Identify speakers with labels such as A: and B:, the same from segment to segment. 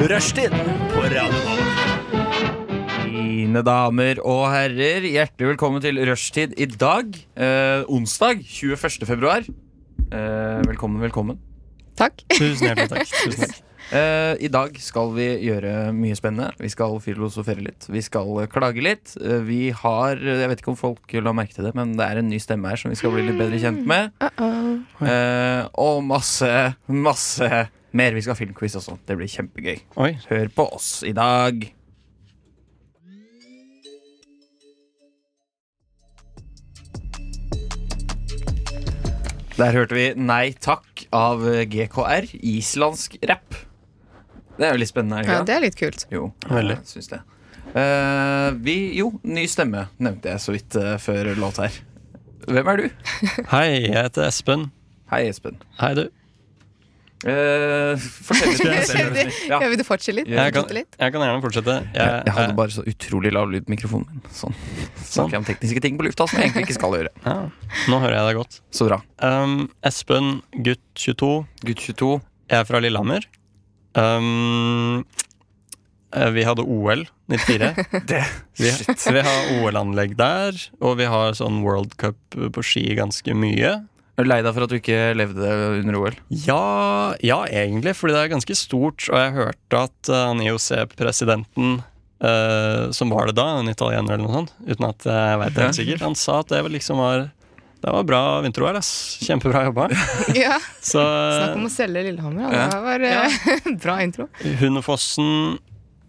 A: Rushtid på Radio Nova.
B: Mine damer og herrer, hjertelig velkommen til rushtid i dag. Eh, onsdag 21. februar. Eh, velkommen, velkommen.
C: Takk.
A: Tusen hjertelig takk. Tusen takk.
B: Eh, I dag skal vi gjøre mye spennende. Vi skal filosofere litt. Vi skal eh, klage litt. Eh, vi har eh, Jeg vet ikke om folk la merke til det, men det er en ny stemme her som vi skal bli litt bedre kjent med. Eh, og masse, masse mer. Vi skal ha filmquiz og sånt. Det blir kjempegøy.
A: Oi.
B: Hør på oss i dag. Der hørte vi Nei takk av GKR, islandsk rapp. Det er jo litt spennende. er det
C: Ja,
B: ikke
C: det er litt kult.
B: jo,
A: Veldig.
B: jeg syns det. Eh, vi, jo, ny stemme nevnte jeg så vidt eh, før låt her. Hvem er du?
A: Hei, jeg heter Espen.
B: Hei, Espen.
A: Hei, du.
B: Eh, fortell litt om deg selv. Ja.
C: Ja, vil du fortsette litt?
B: Jeg
A: kan-
C: Fortsette litt?
A: Jeg kan gjerne fortsette. Jeg,
B: Jeg hadde bare så utrolig lav lyd på mikrofonen min. Sånn. Snakker jeg om tekniske ting på lufta som jeg egentlig ikke skal gjøre.
A: ja. Nå hører jeg deg godt.
B: Så bra.
A: Um, Espen, gutt 22.
B: Gutt 22.
A: Jeg er fra Lillehammer. Um, eh, vi hadde OL 94.
B: Det
A: Vi, vi har OL-anlegg der, og vi har sånn World Cup på ski ganske mye.
B: Er du lei deg for at du ikke levde det under OL?
A: Ja, ja, egentlig, fordi det er ganske stort. Og jeg hørte at eh, han IOC-presidenten, eh, som var det da, en italiener eller noe sånt, uten at jeg veit det helt sikkert, han sa at det var liksom var det var bra vinter-OL, ass. Kjempebra jobba.
C: Ja,
A: Så
C: Snakk om å selge Lillehammer.
B: Ja.
C: da. Det var eh, bra intro.
A: Hundefossen,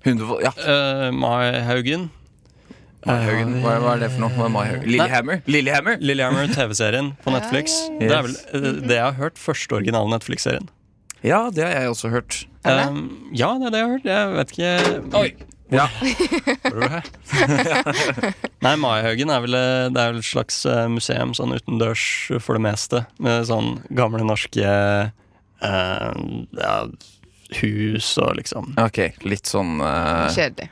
B: Hundefo- Ja,
A: eh, Mai Haugen, Eh,
B: Maihaugen. Hva, hva er det for noe? Hva er Maihaugen? Lillehammer? Lillehammer?
A: Lillehammer, TV-serien på Netflix.
B: ja, ja.
A: Det er vel eh, det jeg har hørt. Første originale Netflix-serien.
B: Ja, det har jeg også hørt.
C: Er det?
A: Um, ja, det er det jeg har hørt. Jeg vet ikke
B: Ja.
A: Hvor var du her? Nei, Maihaugen er vel eh, Det er vel et slags eh, museum sånn utendørs for det meste. Med sånn gamle norske eh, ja, hus og liksom
B: Ok, litt sånn eh,
C: Kjedelig.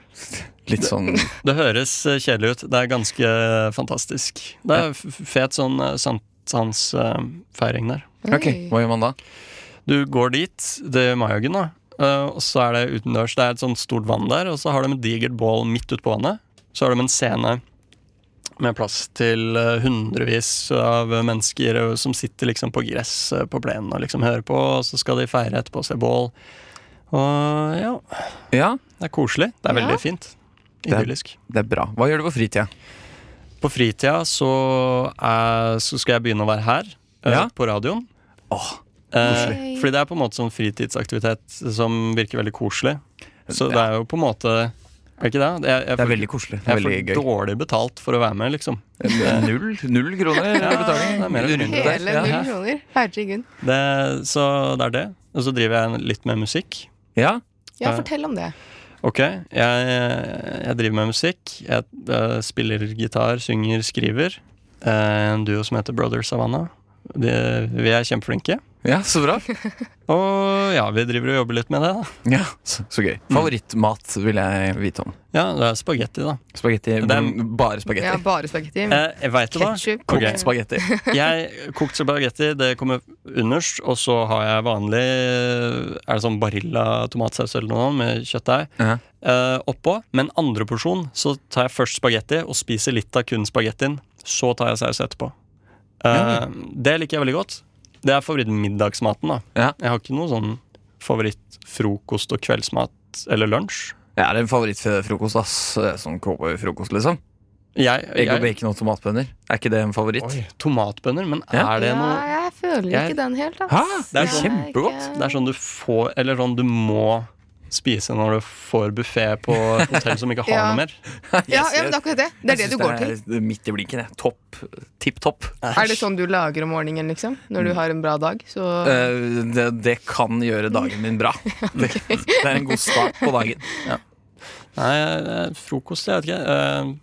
B: Litt sånn
A: Det høres eh, kjedelig ut. Det er ganske eh, fantastisk. Det er f- fet sånn eh, sankthansfeiring der.
B: Ok, hva gjør man da?
A: Du går dit, det er Maihaugen, da. eh, og så er det utendørs. Det er et sånt stort vann der, og så har de et digert bål midt ute på vannet. Så har de en scene med plass til eh, hundrevis av mennesker eh, som sitter liksom på gress eh, på plenen og liksom hører på, og så skal de feire etterpå og se bål. Og ja,
B: Ja,
A: det er koselig. Det er
C: Ja.
A: veldig fint.
B: er-
A: Idyllisk.
B: det er bra. Hva gjør du på fritida?
A: På fritida så, er, så skal jeg begynne å være her eh,
B: Ja.
A: på radioen.
B: Åh,
A: eh,
C: koselig.
A: fordi det er på en måte sånn fritidsaktivitet som virker veldig koselig. Så det er jo på en måte Er det ikke det? Jeg, jeg
B: Det er
A: får-
B: veldig koselig. Det
A: jeg
B: er veldig
A: får
B: gøy.
A: dårlig betalt for å være med, liksom.
B: Null, null kroner
A: Ja,
B: betaling.
A: det er mer eller
B: Rundt
A: mindre.
B: der,
C: Hele
B: ja.
C: null kroner. Herregud.
A: Det, så det er det. Og så driver jeg litt med musikk.
B: Ja,
C: Ja,
A: Ja.
C: fortell om det.
A: Ok, jeg, jeg driver med musikk. Jeg eh, spiller gitar, synger, skriver. Eh, en duo som heter Brother Savannah. De, vi er kjempeflinke.
B: ja, så bra.
A: Og ja, vi driver og jobber litt med det, da.
B: Ja, så, så gøy.
A: Mm.
B: Favorittmat vil jeg vite om.
A: Ja, det er spagetti, da.
B: Spagetti.
A: Det er-
B: Bare spagetti.
C: Ja, bare spagetti.
A: Eh, jeg vet det, da.
C: Ketsjup.
A: Ok.
B: Kokt spagetti.
A: Jeg Kokt spagetti, det kommer underst. Og så har jeg vanlig Er det sånn Barilla tomatsaus eller noe med kjøttdeig
B: Ja.
A: eh, oppå. Men andre porsjon så tar jeg først spagetti og spiser litt av kun spagettien. Så tar jeg saus etterpå. Eh,
B: Ja.
A: Det liker jeg veldig godt. Det er favorittmiddagsmaten, da.
B: Ja.
A: Jeg har ikke noe sånn favorittfrokost og kveldsmat eller lunsj.
B: Jeg er en favorittfrokost, ass. Sånn cowboyfrokost, liksom.
A: Jeg,
B: Egg og
A: jeg,
B: bacon og tomatbønner. Er ikke det en favoritt?
A: Oi, tomatbønner, men
B: Ja.
A: er det
C: ja,
A: noe
C: jeg føler
A: Jeg-
C: ikke den helt, ass.
B: Hæ?
A: Det er
C: Jeg
B: kjempegodt.
C: ikke-
A: Det er sånn du får Eller sånn du må spise når du får buffé på et hotell som ikke har
C: Ja.
A: noe mer.
C: Ja, ja, men det er akkurat det. Det er det du går til.
B: til. Midt i blinken, jeg. Topp. Tipp topp.
C: Er det sånn du lager om morgenen, liksom?
A: Mm.
C: Når du har en bra dag? Så
B: Eh, det, det kan gjøre dagen min bra. Det, det er en god start på dagen.
A: Nei, eh, frokost, jeg vet ikke. Eh,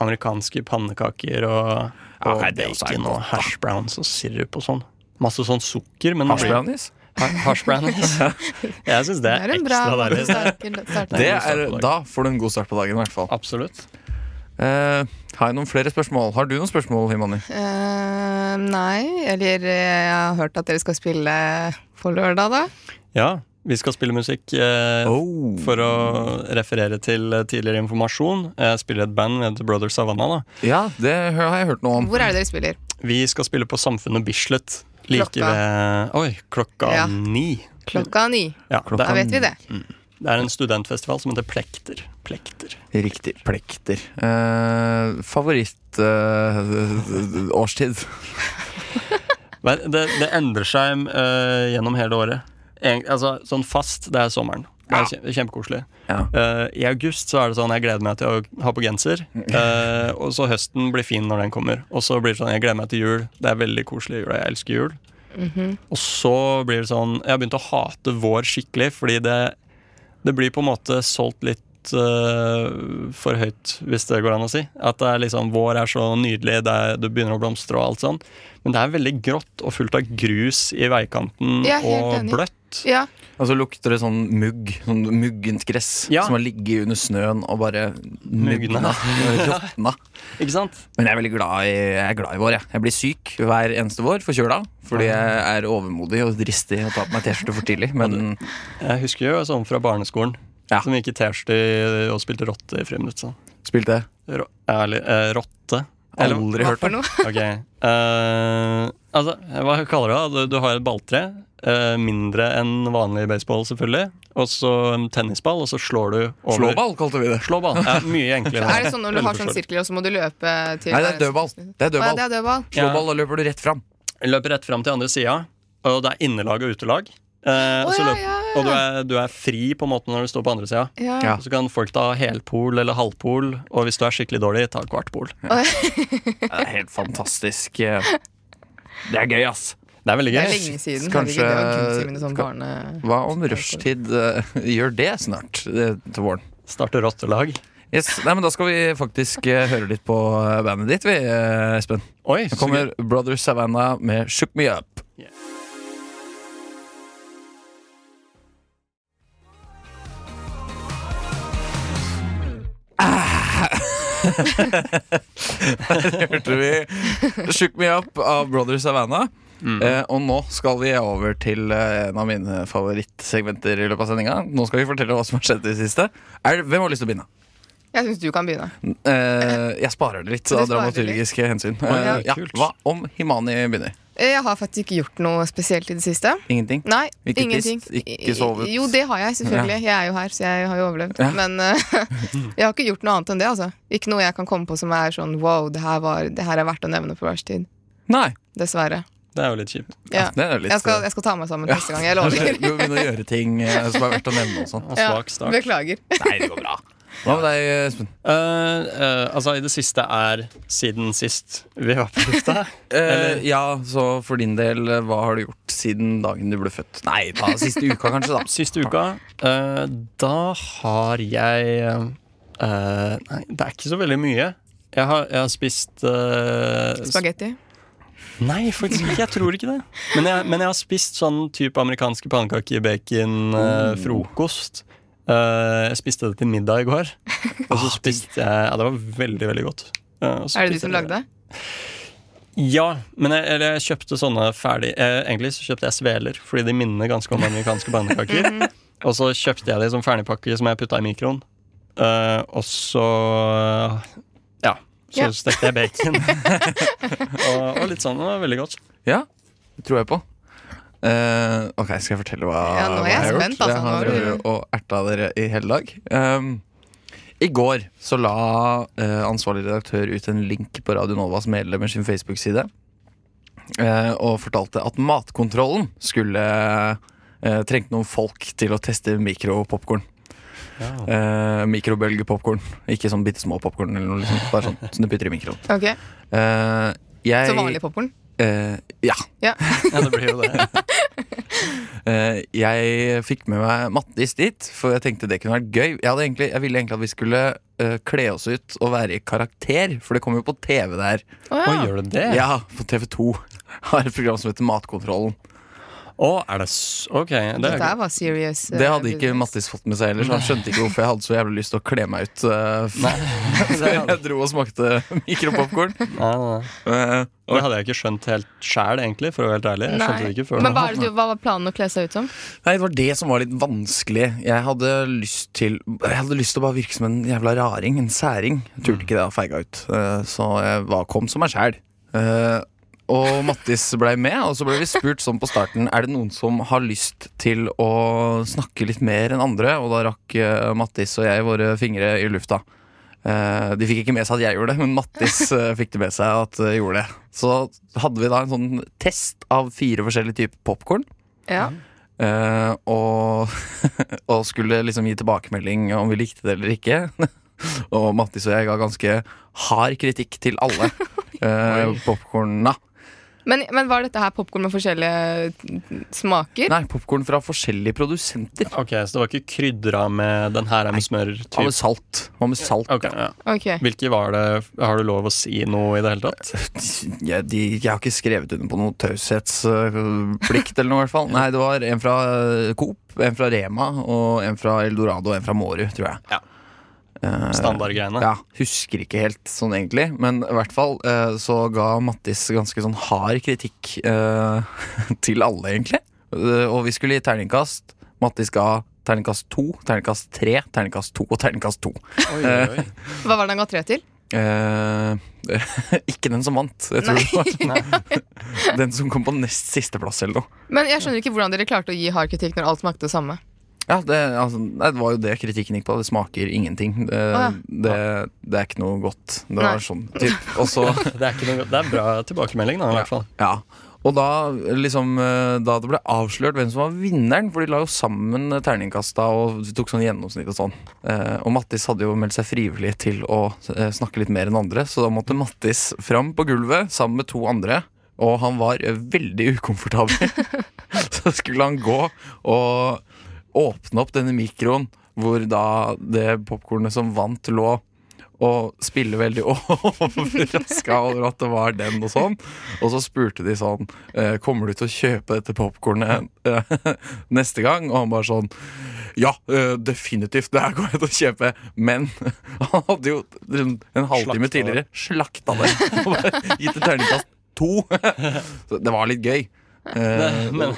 A: amerikanske pannekaker og,
B: Ja,
A: og
B: nei, det også er
A: bacon
B: godt,
A: og hash browns og sirup og sånn. Masse sånn sukker, men
B: Hash brownies?
A: Ha- hash brownies. jeg syns det
C: det
A: er,
C: er en bra
A: ekstra
C: måte å
A: deilig.
C: starte- starte
B: Det
A: god
B: er,
A: start på dagen.
B: da får du en god start på dagen, i hvert fall.
A: Absolutt.
B: Eh, har jeg noen flere spørsmål? Har du noen spørsmål, Himani?
C: Eh, nei, eller eh, jeg har hørt at dere skal spille på lørdag, da.
A: Ja. Vi skal spille musikk eh,
B: Oh.
A: for å referere til eh, tidligere informasjon. Jeg spiller i et band med The Brothers Savannah. Da.
B: Ja, det hø- har jeg hørt noe om.
C: Hvor er det dere spiller?
A: Vi skal spille på Samfunnet Bislett. Like
C: Klokka.
A: ved Oi, klokka
C: Ja.
A: ni.
C: Klokka ni.
A: Ja,
B: Klokka
A: det,
C: Da vet vi det.
A: er, det er en studentfestival som heter Plekter. Plekter.
B: Riktig. Plekter. Eh, favoritt eh, årstid.
A: Men Det, det endrer seg eh, gjennom hele året. Egent- altså, sånn fast, det er sommeren. Det er kjem- kjempekoselig.
B: Ja.
A: Eh, I august så er det sånn jeg gleder meg til å ha på genser.
C: Mm.
A: Eh, og så høsten blir fin når den kommer. Og så blir det sånn jeg gleder meg til jul. Det er veldig koselig i jula. Jeg elsker jul.
C: Mhm.
A: Og så blir det sånn Jeg har begynt å hate vår skikkelig, fordi det, det blir på en måte solgt litt eh, for høyt, hvis det går an å si. At det er liksom, vår er så nydelig, det er, du begynner å blomstre og alt sånn. Men det er veldig grått og fullt av grus i veikanten
C: Jeg er helt
A: og
C: enig.
A: bløtt.
C: Ja.
B: Og så lukter det sånn mugg. Sånn muggent gress
A: Ja.
B: som har ligget under snøen og bare
A: Mugna.
B: mugna. Råtna.
A: Ikke sant?
B: Men jeg er veldig glad i, jeg er glad i vår. Jeg. jeg blir syk hver eneste vår, forkjøla. Fordi jeg er overmodig og dristig og tar på meg T-skjorte for tidlig. Men
A: Jeg husker jo sånn fra barneskolen.
B: Ja.
A: Som gikk i T-skjorte og spilte rotte i friminutt. Sånn.
B: spilte
A: Ro Ærlig, eh, rotte? Eller-
B: aldri
C: Hva
B: hørt
C: for
B: om.
C: noe?
A: Ok. Eh, altså, hva kaller du det? Du, du har et balltre. eh, mindre enn vanlig baseball, selvfølgelig. Og så en tennisball, og så slår du over
B: Slåball, kalte vi det.
A: Slåball. Ja, mye enklere.
C: Er det sånn når du
A: Veldig
C: har sånn
A: forståelig.
C: sirkel, og så må du løpe til
B: Nei, det er dødball. Det er
C: Å, ja,
B: dødball.
C: det er dødball.
B: Slåball, da løper du rett fram.
A: Løper rett fram til andre sida, og det er innelag og utelag. Eh,
C: Å,
A: så
C: ja,
A: løp-
C: ja, ja.
A: Og du er, du er fri på en måte når du står på andre sida.
C: Ja.
B: Ja.
A: Og Så kan folk ta helpol eller halvpol, og hvis du er skikkelig dårlig, ta kvartpol.
B: Det er helt fantastisk. eh. Det er gøy, ass.
A: Det er veldig
C: Det
A: gøy.
C: er lenge siden.
B: Kanskje-
C: Kanskje, det var kunsttimen i sånn
B: skal-
C: barne...
B: Hva om rushtid eh, gjør det snart eh, til våren?
A: Starte rottelag.
B: Yes, nei, men Da skal vi faktisk eh, høre litt på eh, bandet ditt, vi, eh, Espen. Nå
A: Oi, så gøy.
B: kommer Brothers Savannah med Shook Me Up.
A: Yeah.
B: Ah! Der hørte vi Shook Me Up av Brothers Savannah.
A: Mm.
B: Eh, og nå skal vi over til eh, en av mine favorittsegmenter i løpet av sendinga. Nå skal vi fortelle hva som har skjedd i det siste. Er, det- hvem har lyst til å begynne?
C: Jeg syns du kan begynne.
A: Mm.
B: Eh, jeg sparer det litt av
C: Du sparer det litt.
B: dramaturgiske hensyn.
A: ja,
B: Eh, ja,
A: kult.
B: hva om Himani begynner?
C: Jeg har faktisk ikke gjort noe spesielt i det siste.
B: Ingenting?
C: Nei,
B: Ikke
C: ingenting.
B: pist, ikke sovet.
C: Jo, det har jeg, selvfølgelig. Jeg er jo her, så jeg har jo overlevd.
B: Ja.
C: Men eh, jeg har ikke gjort noe annet enn det, altså. Ikke noe jeg kan komme på som er sånn wow, det her, var, det her er verdt å nevne på rushtid.
B: Nei.
C: Dessverre.
A: Det er jo litt kjipt.
C: Ja.
B: Ja, det er jo litt
C: Jeg, skal, jeg skal ta meg sammen neste gang. Jeg lover.
B: Du må begynne å gjøre ting eh, som er verdt å nevne og sånn.
A: Og
C: Ja,
A: svak start.
C: Beklager.
B: Nei, det går bra. Hva med deg, Espen?
A: Eh, eh, altså, i det siste er siden sist vi var på lufta.
B: Eh, ja, så for din del, eh, hva har du gjort siden dagen du ble født? Nei, ta siste uka, kanskje, da.
A: Siste uka. eh, da har jeg eh, Nei, det er ikke så veldig mye. Jeg har, jeg har spist eh,
C: Spagetti.
A: sp- Nei, faktisk ikke. Jeg tror ikke det. Men jeg, men jeg har spist sånn type amerikanske pannekaker, bacon, eh, frokost. Eh, jeg spiste det til middag i går. Og så spiste jeg Ja, det var veldig, veldig godt. Eh, og så spiste
C: Er det du som
A: jeg
C: lagde det?
A: Ja, men jeg, eller jeg kjøpte sånne ferdig eh, Egentlig så kjøpte jeg sveler, fordi de minner ganske om amerikanske pannekaker.
C: Mhm.
A: Og så kjøpte jeg de som ferdigpakke som jeg putta i mikroen. Eh, og så Ja. Så
C: Ja.
A: stekte jeg bacon. og, og litt sånn. Det var veldig godt.
B: Ja, det tror jeg på. Eh, ok, skal jeg fortelle hva,
C: Ja, nå er
B: hva
C: jeg
B: har
C: spent,
B: gjort?
C: altså,
B: Jeg
C: nå
B: har
C: er du-
B: drevet og erta dere i hele dag. Um, I går så la eh, ansvarlig redaktør ut en link på Radio Novas medlemmer sin Facebook-side. eh, og fortalte at Matkontrollen skulle eh, trengte noen folk til å teste mikropopkorn. Uh, Mikrobølgepopkorn. Ikke sånn bitte små popkorn, eller noe liksom. Bare sånn som du putter i mikroen.
C: Ok,
B: Eh, jeg,
C: Så vanlig popkorn?
B: eh, ja.
C: Ja.
A: Ja, det blir jo det.
B: Eh, jeg fikk med meg Mattis dit, for jeg tenkte det kunne vært gøy. Jeg, hadde egentlig, jeg ville egentlig at vi skulle eh, kle oss ut og være i karakter, for det kommer jo på TV der.
C: Å
A: Oi,
C: ja.
A: gjør du det?
B: Ja, på TV2 har et program som heter Matkontrollen.
A: Å, er det s... Ok. Det
C: Dette
A: er,
C: her var serious. eh,
B: Det hadde ikke
C: business.
B: Mattis fått med seg heller, så han skjønte ikke hvorfor jeg hadde så jævlig lyst til å kle meg ut. eh, før jeg dro og smakte mikropopkorn.
A: nei, nei.
B: Eh,
A: det hadde jeg ikke skjønt helt sjæl, egentlig, for å være helt ærlig. Jeg skjønte
C: Nei.
A: det ikke før
C: Men
A: nå.
C: hva, er det du, hva var planen å kle seg ut som?
B: Nei, det var det som var litt vanskelig. Jeg hadde lyst til Jeg hadde lyst til å bare virke som en jævla raring, en særing. Jeg turte ikke det, jeg feiga ut. Eh, Så jeg var, kom som meg sjæl. Eh, Og Mattis blei med, og så ble vi spurt sånn på starten Er det noen som har lyst til å snakke litt mer enn andre. Og da rakk eh, Mattis og jeg våre fingre i lufta. Eh, De fikk ikke med seg at jeg gjorde det, men Mattis eh, fikk det med seg at jeg gjorde det. Så hadde vi da en sånn test av fire forskjellige typer popkorn.
C: Ja.
B: Eh, og, og skulle liksom gi tilbakemelding om vi likte det eller ikke. og Mattis og jeg ga ganske hard kritikk til alle uh, popkorna.
C: Men, men var dette her popkorn med forskjellige mm, smaker?
B: Nei, popkorn fra forskjellige produsenter.
A: Ok, Så det var ikke krydra med den her er med smør?
B: Av
A: Typ.
B: med salt. Av med salt.
A: Ok, ja.
C: Ok.
A: Hvilke var det? Har du lov å si noe i det hele tatt?
B: Jeg, de, jeg har ikke skrevet under på noe taushetsplikt eller noe, i hvert fall. Nei, det var en fra eh, Coop, en fra Rema, og en fra Eldorado og en fra Mårud, tror jeg.
A: Ja.
B: Eh,
A: Standardgreiene?
B: Ja, husker ikke helt sånn egentlig, men i hvert fall eh, så ga Mattis ganske sånn hard kritikk eh, til alle, egentlig. Eh, Og vi skulle gi terningkast. Mattis ga terningkast to, terningkast tre, terningkast to og terningkast to.
A: Oi, oi, oi.
C: Hva var det han ga tre til?
B: Eh, ikke den som vant, jeg tror det var. Den som kom på nest sisteplass eller noe.
C: Men jeg skjønner ikke hvordan dere klarte å gi hard kritikk når alt smakte det samme.
B: Ja, det, altså, nei, det var jo det kritikken gikk på. Det smaker ingenting. Det,
C: Å,
B: det, det er ikke noe godt. Det
C: Nei.
B: var sånn typ. Og så
A: Det er, ikke noe, det er bra tilbakemelding, da, i hvert fall.
B: Ja, og da, liksom, eh, da det ble avslørt hvem som var vinneren, for de la jo sammen eh, terningkasta og de tok sånn gjennomsnitt og sånn. Eh, og Mattis hadde jo meldt seg frivillig til å eh, snakke litt mer enn andre, så da måtte Mattis fram på gulvet sammen med to andre. Og han var eh, veldig ukomfortabel. så skulle han gå og åpne opp denne mikroen hvor da det popkornet som vant, lå. Og spille veldig overraska over at det var den og sånn. Og så spurte de sånn eh, Kommer du til å kjøpe dette popkornet eh, neste gang? Og han bare sånn Ja, eh, definitivt. Det her går jeg til å kjøpe. Men han hadde jo en en halvtime
A: Slakta det.
B: tidligere slakta det. Og bare gitt et terningkast to. Så det var litt gøy. Eh,
A: Men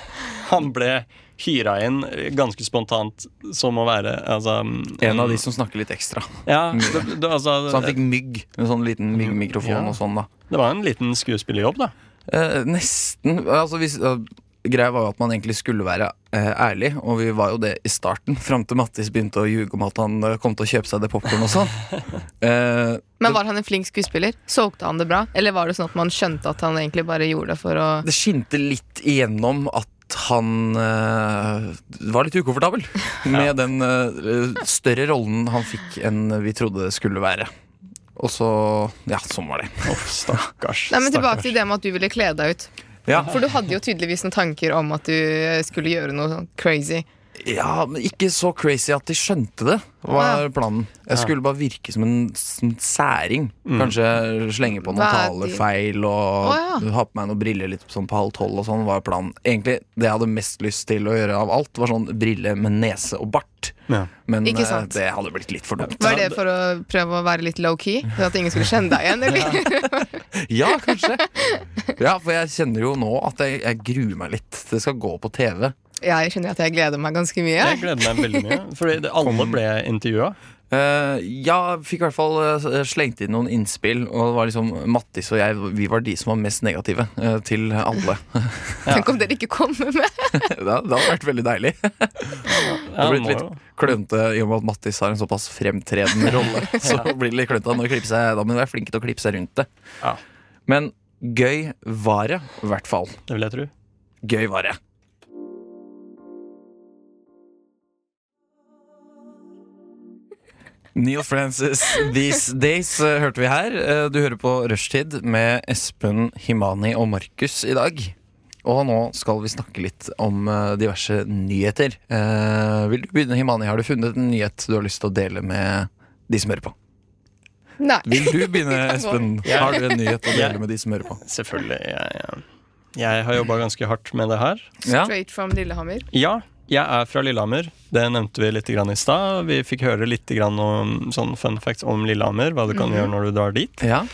A: han ble hyra inn ganske spontant som å være altså,
B: en av de som snakker litt ekstra.
A: Ja, det, det,
B: Så
A: altså,
B: han fikk mygg. En sånn liten myggmikrofon
A: Ja.
B: og sånn, da.
A: det var en liten skuespillerjobb, da.
B: Eh, nesten. Altså, hvis, eh, greia var jo at man egentlig skulle være eh, ærlig, og vi var jo det i starten, fram til Mattis begynte å ljuge om at han eh, kom til å kjøpe seg det popkornet og sånn. Eh,
C: Men var han en flink skuespiller? Solgte han det bra? Eller var det sånn at man skjønte at han egentlig bare gjorde det for å
B: det skinte litt igjennom at han eh, var litt ukomfortabel med den eh, større rollen han fikk enn vi trodde det skulle være. Og så Ja, sånn var det.
A: Uff, stakkars.
C: Nei, men Tilbake
A: stakkars.
C: til det med at du ville kle deg ut.
B: Ja.
C: For du hadde jo tydeligvis noen tanker om at du skulle gjøre noe sånn crazy.
B: Ja, men ikke så crazy at de skjønte det, var planen. Jeg skulle bare virke som en s- en særing. Kanskje slenge på noen
C: Mm. Hva er
B: talefeil og
C: Å, ja.
B: ha på meg noen briller litt sånn på halv tolv og sånn, var planen. Egentlig, det jeg hadde mest lyst til å gjøre av alt, var sånn brille med nese og bart.
A: Ja.
B: Men
C: Ikke
B: eh,
C: sant.
B: det hadde blitt litt for dumt.
C: Var det for å prøve å være litt low-key? Sånn at ingen skulle kjenne deg igjen? Eller?
B: Ja, kanskje. Ja, for jeg kjenner jo nå at jeg, jeg gruer meg litt. Det skal gå på TV.
C: Jeg skjønner at jeg gleder meg ganske mye.
A: Jeg gleder meg veldig mye, Fordi det, alle ble intervjua.
B: Eh, ja, fikk i hvert fall eh, slengt inn noen innspill. Og det var liksom Mattis og jeg Vi var de som var mest negative eh, til alle.
C: Tenk om dere ikke kommer med!
B: det, hadde- det hadde vært veldig deilig.
A: Ja,
B: blitt
A: må
B: litt-
A: jo.
B: Klønete i og med at Mattis har en såpass fremtredende rolle. Så blir det litt klønete. Han må klippe seg- Da må du være flink til å klippe seg rundt det.
A: Ja.
B: Men gøy var det, i hvert fall.
A: Det vil jeg tro.
B: Gøy var det. Neil Francis These Days eh, hørte vi her. Eh, Du hører på Rushtid med Espen, Himani og Markus i dag. Og nå skal vi snakke litt om eh, diverse nyheter. Eh, Vil du begynne, Himani? Har du funnet en nyhet du har lyst til å dele med de som hører på?
C: Nei.
B: Vil du begynne,
C: kan gå.
B: Espen? Har du en nyhet å dele med de som hører på?
A: Selvfølgelig. Jeg, Jeg har jobba ganske hardt med det her.
B: Ja.
C: Straight from Lillehammer.
A: Ja, jeg er fra Lillehammer. Det nevnte vi litt grann i stad. Vi fikk høre litt grann om sånn fun facts om Lillehammer, hva du kan gjøre når du drar dit.
B: ja.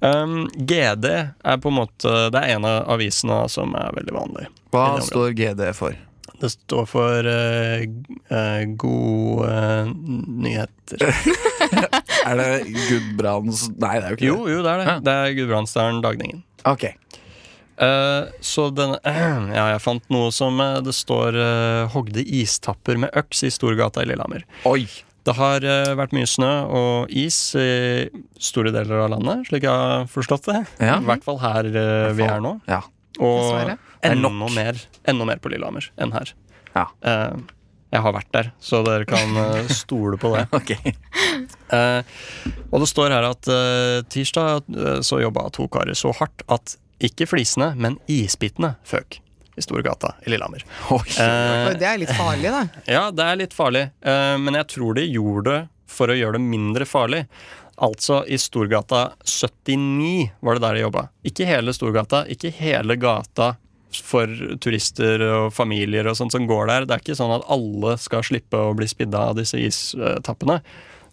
A: Um, GD er på en måte Det er en av avisene som er veldig vanlig.
B: Hva
A: Lillehammer.
B: står GD for?
A: Det står for eh, eh, gode eh, nyheter.
B: Er det Gudbrands Nei, det er jo ikke
A: Jo, jo, det er det.
B: Ja.
A: Det er Gudbrandsdalen Dagningen.
B: det. Ok.
A: Eh, så den Ja, jeg fant noe som eh, det står eh, 'Hogde istapper med øks i Storgata i Lillehammer'.
B: Oi.
A: Det har eh, vært mye snø og is i store deler av landet, slik jeg har forstått det.
B: Ja.
A: I hvert fall her eh, vi er nå.
B: Ja.
A: Og
C: Dessverre.
B: Det er
A: enda
B: nok.
A: mer, enda mer på Lillehammer enn her.
B: Ja.
A: Eh, jeg har vært der, så dere kan eh, stole på det.
B: Ok.
A: Eh, og det står her at eh, tirsdag eh, så jobba to karer så hardt at ikke flisene, men isbitene føk i Storgata i Lillehammer.
B: Oi.
A: Eh,
C: Oi, det er litt farlig, da.
A: ja, det er litt farlig, eh, men jeg tror de gjorde det for å gjøre det mindre farlig. Altså, i Storgata 79 var det der de jobba. Ikke hele Storgata, ikke hele gata for turister og familier og sånt som går der. Det er ikke sånn at alle skal slippe å bli spidda av disse istappene.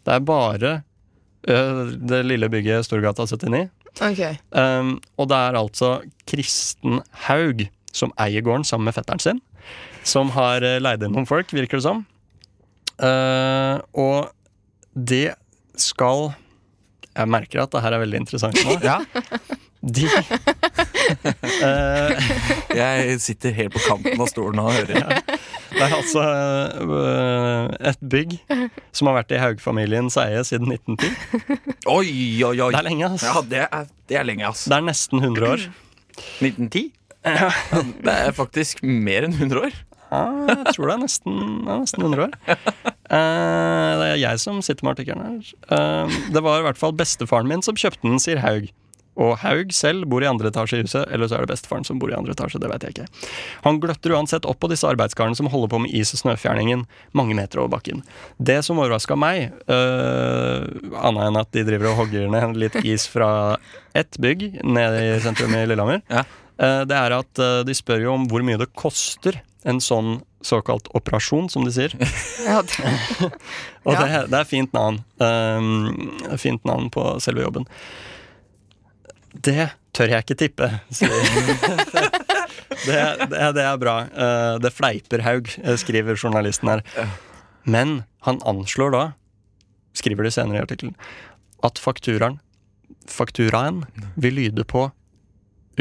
A: Det er bare eh, det lille bygget Storgata 79.
C: Ok.
A: Um, og det er altså Kristen Haug som eier gården sammen med fetteren sin. Som har eh, leid inn noen folk, virker det som. Eh, og det skal Jeg merker at det her er veldig interessant nå.
B: Ja.
A: De Eh,
B: Jeg sitter helt på kanten av stolen og hører.
A: Det er altså eh, et bygg som har vært i Haug-familiens eie siden 1910.
B: Oi, oi, oi.
A: Det er lenge, ass.
B: Ja, det er, det er lenge, ass.
A: Det er nesten 100 år.
B: 1910? Det er faktisk mer enn 100 år.
A: Ja, jeg tror det er nesten, det er nesten 100 år. Eh, det er jeg som sitter med artikkelen her. Eh, det var i hvert fall bestefaren min som kjøpte den, sier Haug. Og Haug selv bor i andre etasje i huset, eller så er det bestefaren som bor i andre etasje. det vet jeg ikke. Han gløtter uansett opp på disse arbeidskarene som holder på med is- og snøfjerningen mange meter over bakken. Det som overraska meg, uh, annet enn at de driver og hogger ned litt is fra ett bygg nede i sentrum i Lillehammer,
B: Ja.
A: Eh, det er at eh, de spør jo om hvor mye det koster en sånn såkalt operasjon, som de sier.
C: Ja, det,
A: Og
C: Ja.
A: det, det er fint navn. Eh, fint navn på selve jobben. Det tør jeg ikke tippe, sier det, det, det er bra. Eh, det fleiper Haug, eh, skriver journalisten her. Men han anslår da, skriver de senere i artikkelen, at fakturaen, fakturaen vil lyde på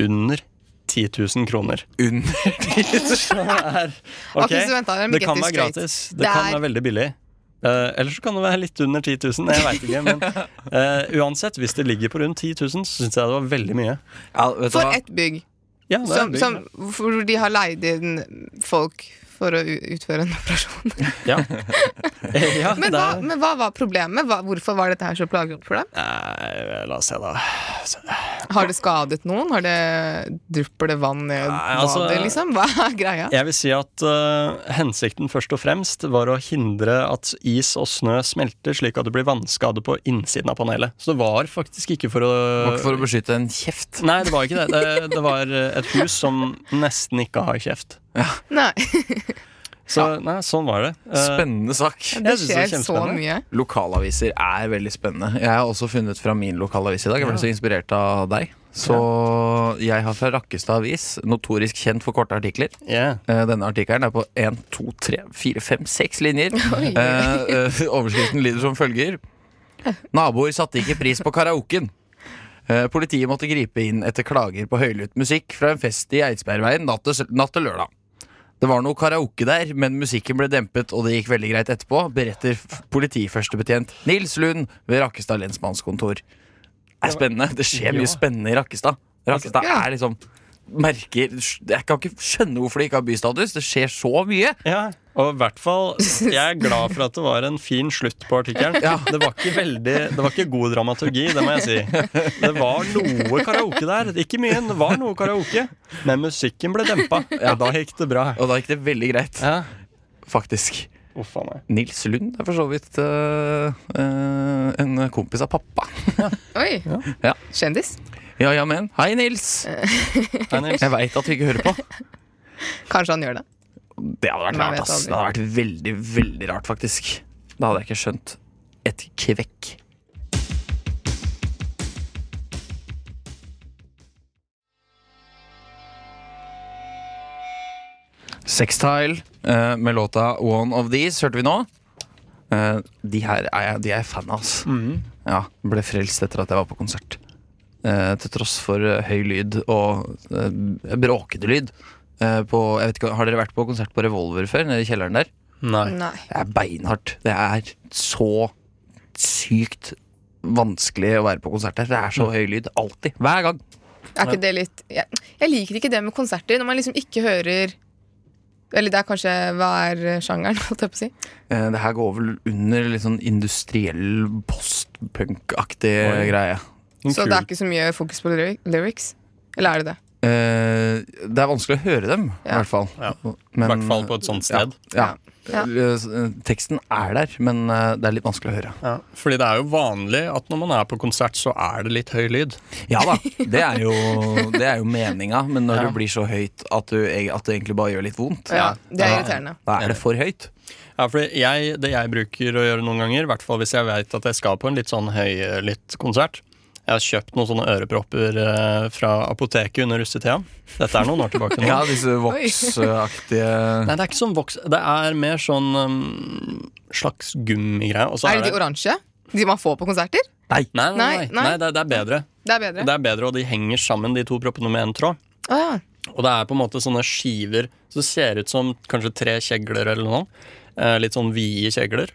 A: under 10 000 kroner.
B: Under
A: Så det er-
C: Ok,
A: Ok,
C: så vent da, let me
A: det
C: get
A: kan
C: this
A: være
C: straight.
A: gratis. Det,
C: Det
A: kan
C: er-
A: være veldig billig. Eh, Eller så kan det være litt under 10 000. Jeg vet ikke. Men eh, uansett, hvis det ligger på rundt 10 000, så syns jeg det var veldig mye.
B: ja, vet du
C: For
B: hva?
C: ett bygg
A: Ja, det er
C: som,
A: billig.
C: som, hvor de har leid inn folk for å u- utføre en operasjon.
A: ja. Eh, ja,
C: Men
A: det
C: hva,
A: er-
C: men hva var problemet? Hva, hvorfor var dette her så plagsomt for dem?
A: Nei, la oss se, da.
C: Har det skadet noen? Har det Drypper det vann ned
A: Nei, altså-
C: badet, liksom? Hva er greia?
A: Jeg vil si at eh, hensikten først og fremst var å hindre at is og snø smelter, slik at det blir vannskade på innsiden av panelet. Så det var faktisk ikke for
B: Det var
A: å
B: ikke for å beskytte en kjeft.
A: Nei, det var ikke det. Det, det var eh, et hus som nesten ikke har kjeft.
C: Nei,
A: Så nei, sånn var det. Eh,
B: Spennende sak.
C: det
A: synes det var
C: skjer så
A: kjempespennende.
C: mye.
B: Lokalaviser er veldig spennende. Jeg har også funnet fra min lokalavis i dag. Jeg ble så inspirert av deg. Så jeg har fra Rakkestad Avis, notorisk kjent for korte artikler.
A: yeah.
B: Eh, Denne artikkelen er på 1, 2, 3, 4, 5, 6 linjer. Eh, eh, overskriften lyder som følger. Naboer satte ikke pris på karaoken. Eh, Politiet måtte gripe inn etter klager på høylytt musikk fra en fest i Eidsbergveien natt til, natt til lørdag. Det var noe karaoke der, men musikken ble dempet, og det gikk veldig greit etterpå, beretter f- politiførstebetjent Nils Lund ved Rakkestad lensmannskontor. Det er spennende. Det skjer
A: Ja.
B: mye spennende i Rakkestad. Rakkestad
C: Ja.
B: er liksom merker Jeg kan ikke skjønne hvorfor det ikke har bystatus. Det skjer så mye.
A: Ja, og i hvert fall Jeg er glad for at det var en fin slutt på artikkelen.
B: Ja.
A: Det var ikke veldig Det var ikke god dramaturgi, det må jeg si. Det var noe karaoke der. Ikke mye, men det var noe karaoke. Men musikken ble dempa, og da gikk det bra.
B: Og da gikk det veldig greit,
A: Ja.
B: faktisk.
A: Uff a meg.
B: Nils Lund er for så vidt øh, øh, en kompis av pappa.
C: Oi.
A: Ja.
B: Ja.
C: Kjendis?
B: Ja, ja, men. Hei, Nils!
A: Hei, Nils.
B: Jeg veit at vi ikke hører på.
C: Kanskje han gjør det.
B: Det hadde vært
C: Man
B: rart,
C: vet
B: ass.
C: aldri.
B: Det hadde vært veldig, veldig rart, faktisk. Da hadde jeg ikke skjønt et kvekk. Sextile eh, med låta One of These hørte vi nå. Eh, de her er jeg, de er jeg fan av, ass. Ja, ble frelst etter at jeg var på konsert. Eh, til tross for eh, høy lyd og eh, bråkete lyd. Eh, på, jeg vet ikke, har dere vært på konsert på Revolver før? Nede i kjelleren der?
A: Nei.
C: Nei.
B: Det er beinhardt. Det er så sykt vanskelig å være på konsert der. Det er
A: Mm.
B: så høy lyd. Alltid. Hver gang.
C: Er ikke det litt jeg, jeg liker ikke det med konserter, når man liksom ikke hører Eller det er kanskje hva er sjangeren, holdt jeg på å si.
B: Eh, det her går vel under litt sånn industriell postpunk-aktig
A: Oi.
B: greie.
A: Men
C: Så det er
A: kult.
C: ikke så mye fokus på lyri- lyrics. Eller er det det?
B: Eh, det er vanskelig å høre dem, i
C: Ja.
B: hvert fall.
A: Ja. I
B: Men-
A: hvert fall på et sånt sted.
B: Ja.
C: Ja.
B: Eh, Teksten er der, men eh, det er litt vanskelig å høre.
A: Ja. Fordi det er jo vanlig at når man er på konsert, så er det litt høy lyd.
B: Ja da, det er jo, det er jo meninga, men når
A: Ja.
B: det blir så høyt at, du, eg- at det egentlig bare gjør litt vondt,
C: Ja, det
B: da-
C: er irriterende.
B: Da er det for høyt.
A: Ja, fordi jeg, Det jeg bruker å gjøre noen ganger, i hvert fall hvis jeg vet at jeg skal på en litt sånn høylytt konsert Jeg har kjøpt noen sånne ørepropper eh, fra apoteket under russetida. Dette er noen år tilbake nå.
B: Ja, disse voksaktige
A: Nei, det er ikke sånn voks... Det er mer sånn um, slags gummigreie. og så
C: Er det de oransje? De man får på konserter?
A: Nei, nei, nei,
C: Nei,
A: nei.
C: nei.
A: det, er, det er bedre.
C: Det er bedre.
A: Det er bedre, og de henger sammen, de to proppene, med en tråd.
C: Å ja.
A: Og det er på en måte sånne skiver som ser ut som kanskje tre kjegler eller noe. Eh, litt sånn vide kjegler.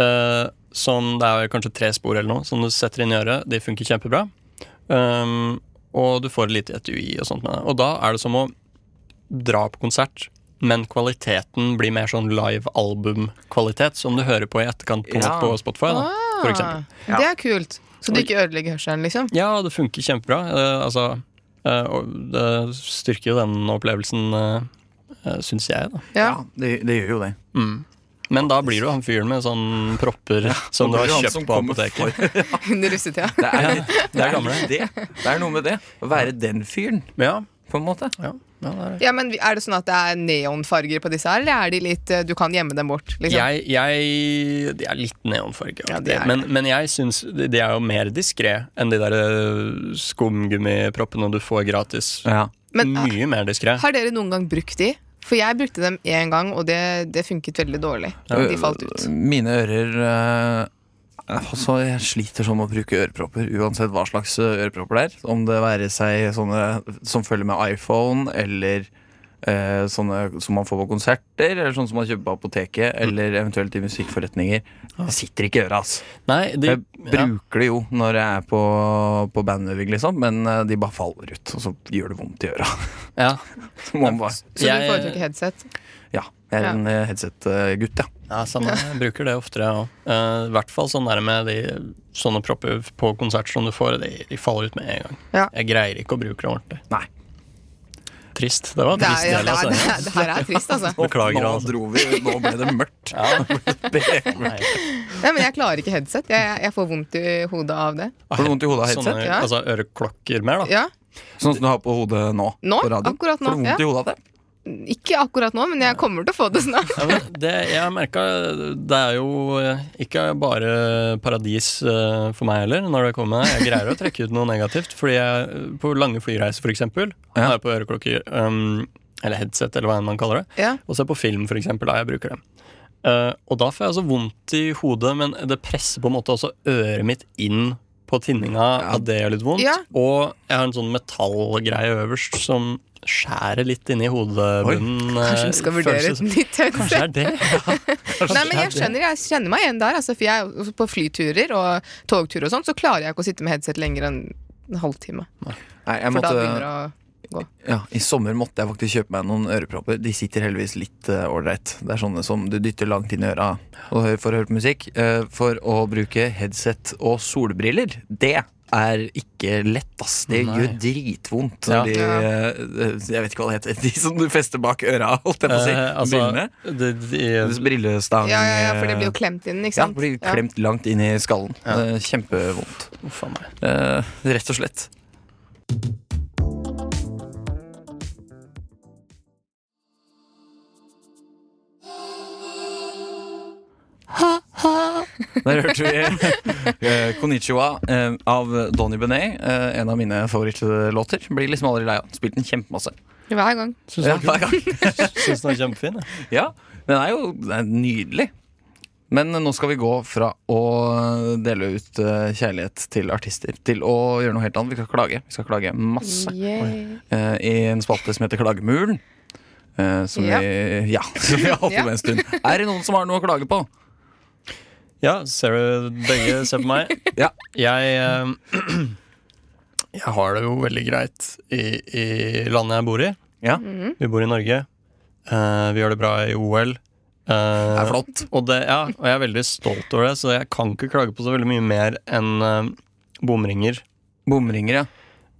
A: eh, som det er kanskje tre spor eller noe, som du setter inn i øret. De funker kjempebra. Um, og du får litt etui og sånt med det. Og da er det som å dra på konsert. Men kvaliteten blir mer sånn live album-kvalitet, som du hører på i etterkant på,
B: Ja.
A: på Spotify. Da, for eksempel.
C: Ah, Det er kult. Så du ikke ødelegger hørselen, liksom?
A: Ja, det funker kjempebra. Eh, altså, eh, og det styrker jo den opplevelsen, uh, syns jeg, da.
C: Ja.
B: Ja, det, det gjør jo det.
A: Men da blir du han fyren med sånn propper som du har
B: Det er han
A: kjøpt
B: som
A: på
B: kommer
A: apoteket.
B: for-
C: Under russetida.
B: Det er, litt- det, er
A: gamle.
B: litt det. det er noe med det. Å være den fyren,
A: Ja,
B: på en måte.
A: ja, ja, det er det.
C: Ja, men Er det sånn at det er neonfarger på disse her, eller er de litt eh, Du kan gjemme dem bort, liksom?
A: Jeg, jeg De er litt neonfarge.
C: Ja, de er det.
A: men, men jeg syns de de er jo mer diskré enn de der eh, skumgummiproppene du får gratis.
B: Ja.
C: Men eh,
A: Mye mer diskré.
C: har dere noen gang brukt de? For jeg brukte dem én gang, og det, det funket veldig dårlig. De falt ut.
B: Mine ører eh, Altså, jeg sliter sånn med å bruke ørepropper, uansett hva slags eh, ørepropper det er. Om det være seg sånne som følger med iPhone, eller eh, sånne som man får på konserter, eller sånne som man kjøper på apoteket, eller eventuelt i musikkforretninger. Det sitter ikke i øra, ass.
A: Nei, de,
B: Jeg bruker det jo når jeg er på, på bandøving, liksom, men eh, de bare faller ut, og så gjør det vondt i øra.
A: ja, ja.
B: Så må man bare
C: Så
A: Jeg-
C: du foretrekker headset?
B: Ja, jeg er en eh, headset-gutt, ja.
A: Ja, samme. Jeg bruker det oftere, jeg òg. I hvert fall sånn der med de sånne propper på konsert som du får. De, de faller ut med en gang.
C: Ja.
A: Jeg greier ikke å bruke det ordentlig.
B: Nei.
A: Trist. Det var
C: Det,
A: trist.
C: er, ja,
A: del altså. av
C: det, er, det,
A: sendingen.
C: er, det her er trist, altså.
A: Beklager,
B: nå,
A: altså.
B: dro vi, nå ble det mørkt.
A: Nei.
C: Nei, men jeg klarer ikke headset. Jeg, jeg- jeg får vondt i hodet av det.
B: Får du vondt i hodet av
A: Sånne
B: headset?
C: Ja.
A: altså, øreklokker mer, da.
C: Ja,
B: Sånn som du har på hodet nå?
C: Nå?
B: På radioen?
C: Akkurat nå,
B: Får du
C: ja.
B: vondt i hodet av det?
C: Ikke akkurat nå, men jeg kommer til å få det snart.
A: Ja, men det, jeg har merka Det er jo eh, ikke bare paradis eh, for meg heller, når det kommer. Jeg greier å trekke ut noe negativt. Fordi jeg, eh, på lange flyreiser, for eksempel,
B: Ja.
A: har jeg på øreklokker um, Eller headset, eller hva enn man kaller det.
C: Ja.
A: Og se på film, for eksempel, da jeg bruker dem. Eh, og da får jeg altså vondt i hodet, men det presser på en måte også øret mitt inn på tinninga.
B: Ja.
A: At det gjør litt vondt.
C: Ja.
A: Og jeg har en sånn metallgreie øverst som skjærer litt inni hodebunnen.
C: Kanskje
A: eh,
C: vi skal vurdere
A: føles-
C: et nytt headset?
A: Kanskje det er det.
C: Nei, men jeg skjønner, jeg kjenner meg igjen der. Altså, for jeg, også på flyturer og togturer og sånt, så klarer jeg ikke å sitte med headset lenger enn en halvtime.
B: Nei, jeg
C: For da
B: måtte,
C: begynner det å
B: ja, I sommer måtte jeg faktisk kjøpe meg noen ørepropper. De sitter heldigvis litt eh, ålreit. det er sånne som du dytter langt inn i øra og hører- for å høre på musikk. Eh, for å bruke headset og solbriller, det er ikke lett, ass. Det
A: Nei.
B: gjør dritvondt.
A: Ja.
B: når De, eh, jeg vet ikke hva det heter. De som du fester bak øra, holdt jeg på å si.
A: Eh, altså,
B: Brillene.
A: det, de,
B: Disse Brillestang eh,
C: Ja, ja, ja, for det blir jo klemt inn, ikke
B: Ja,
C: sant?
B: blir klemt langt inn i skallen.
A: Ja.
B: Det er Kjempevondt.
A: Uff a meg.
B: Eh, rett og slett. Der hørte vi eh, Konnichiwa eh, av Donny Benet. Eh, en av mine favorittlåter. Blir liksom aldri lei av. den. Spilt den kjempemasse.
C: Hver gang.
A: Syns
B: Ja,
A: den er
B: hver gang.
A: kul. Syns den er kjempefin. jeg.
B: Ja, den er jo den er nydelig. Men nå skal vi gå fra å dele ut eh, kjærlighet til artister til å gjøre noe helt annet. Vi skal klage. Vi skal klage masse
C: Yay.
B: eh, i en spalte som heter Klagemuren. eh, som,
C: Ja.
B: Vi, ja, som vi har holdt på med en stund. Er det noen som har noe å klage på?
A: Ja, ser du begge ser på meg?
B: Ja.
A: Jeg eh, Jeg har det jo veldig greit i, i landet jeg bor i.
B: Ja.
C: Mm.
A: Vi bor i Norge. Eh, vi gjør det bra i OL.
B: Det
A: Uh,
B: er flott.
A: Og, det, ja, og jeg er veldig stolt over det, så jeg kan ikke klage på så veldig mye mer enn eh, bomringer.
B: Bomringer, ja.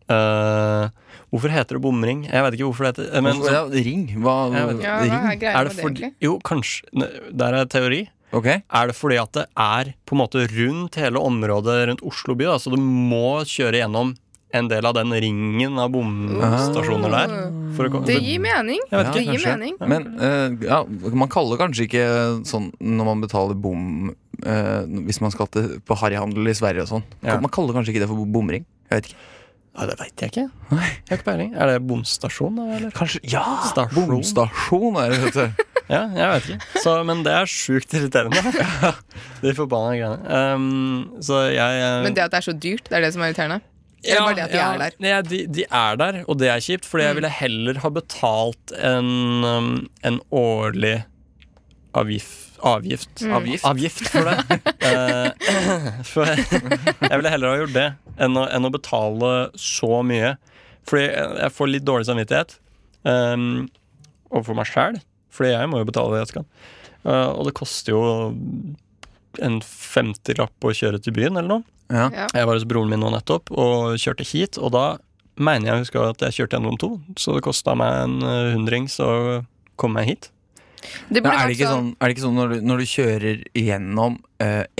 A: Eh, hvorfor heter det bomring? Jeg vet ikke hvorfor det heter eh, men,
B: Hvorfor- ja ring. Hva,
A: Jeg vet ikke.
C: Ja, hva er
B: ring.
C: greia
A: er det
C: med det,
A: fordi,
C: egentlig?
A: Jo, kanskje ne, Der er teori.
B: Ok.
A: Er det fordi at det er på en måte rundt hele området rundt Oslo by, da, så du må kjøre gjennom en del av den ringen av bomstasjoner Mm. der? For å, komme-
C: Det gir mening.
A: Jeg vet
B: Ja,
A: ikke,
C: det gir
A: kanskje.
C: mening.
B: Men eh, ja, man kaller kanskje ikke sånn når man betaler bom eh, Hvis man skal til, på harryhandel i Sverige og sånn.
A: Ja.
B: Man kaller kanskje ikke det for bomring. Jeg vet ikke.
A: Ja, det veit jeg ikke. Jeg har ikke peiling. Er det bomstasjon, da? Eller?
B: Kanskje, ja!
A: Stasjon.
B: Bomstasjon er det, vet du.
A: Ja, jeg vet ikke. Så, men det er sjukt irriterende. De forbanna greiene. Um, så jeg eh,
C: Men det at det er så dyrt, det er det som er irriterende? Eller bare det at de er der? Mm.
A: Nei, de, de er der, og det er kjipt, fordi jeg ville heller ha betalt en, um, en årlig avgift
C: Mm.
A: Avgift.
B: Avgift.
A: Avgift for det. Eh, for jeg ville heller ha gjort det enn å, enn å betale så mye. Fordi jeg jeg får litt dårlig samvittighet um, overfor meg sjæl, fordi jeg må jo betale det jeg skal. Eh, og det koster jo en 50-lapp å kjøre til byen, eller noe.
B: Ja.
C: Ja.
A: Jeg var hos broren min nå nettopp og kjørte hit, og da mener jeg å huske at jeg kjørte gjennom to, så det kosta meg en eh, hundrings å komme meg hit.
C: Det
B: Men
C: burde
B: er, det
C: vært
B: ikke
C: sånn
B: sånn, er det ikke sånn når du, når du kjører gjennom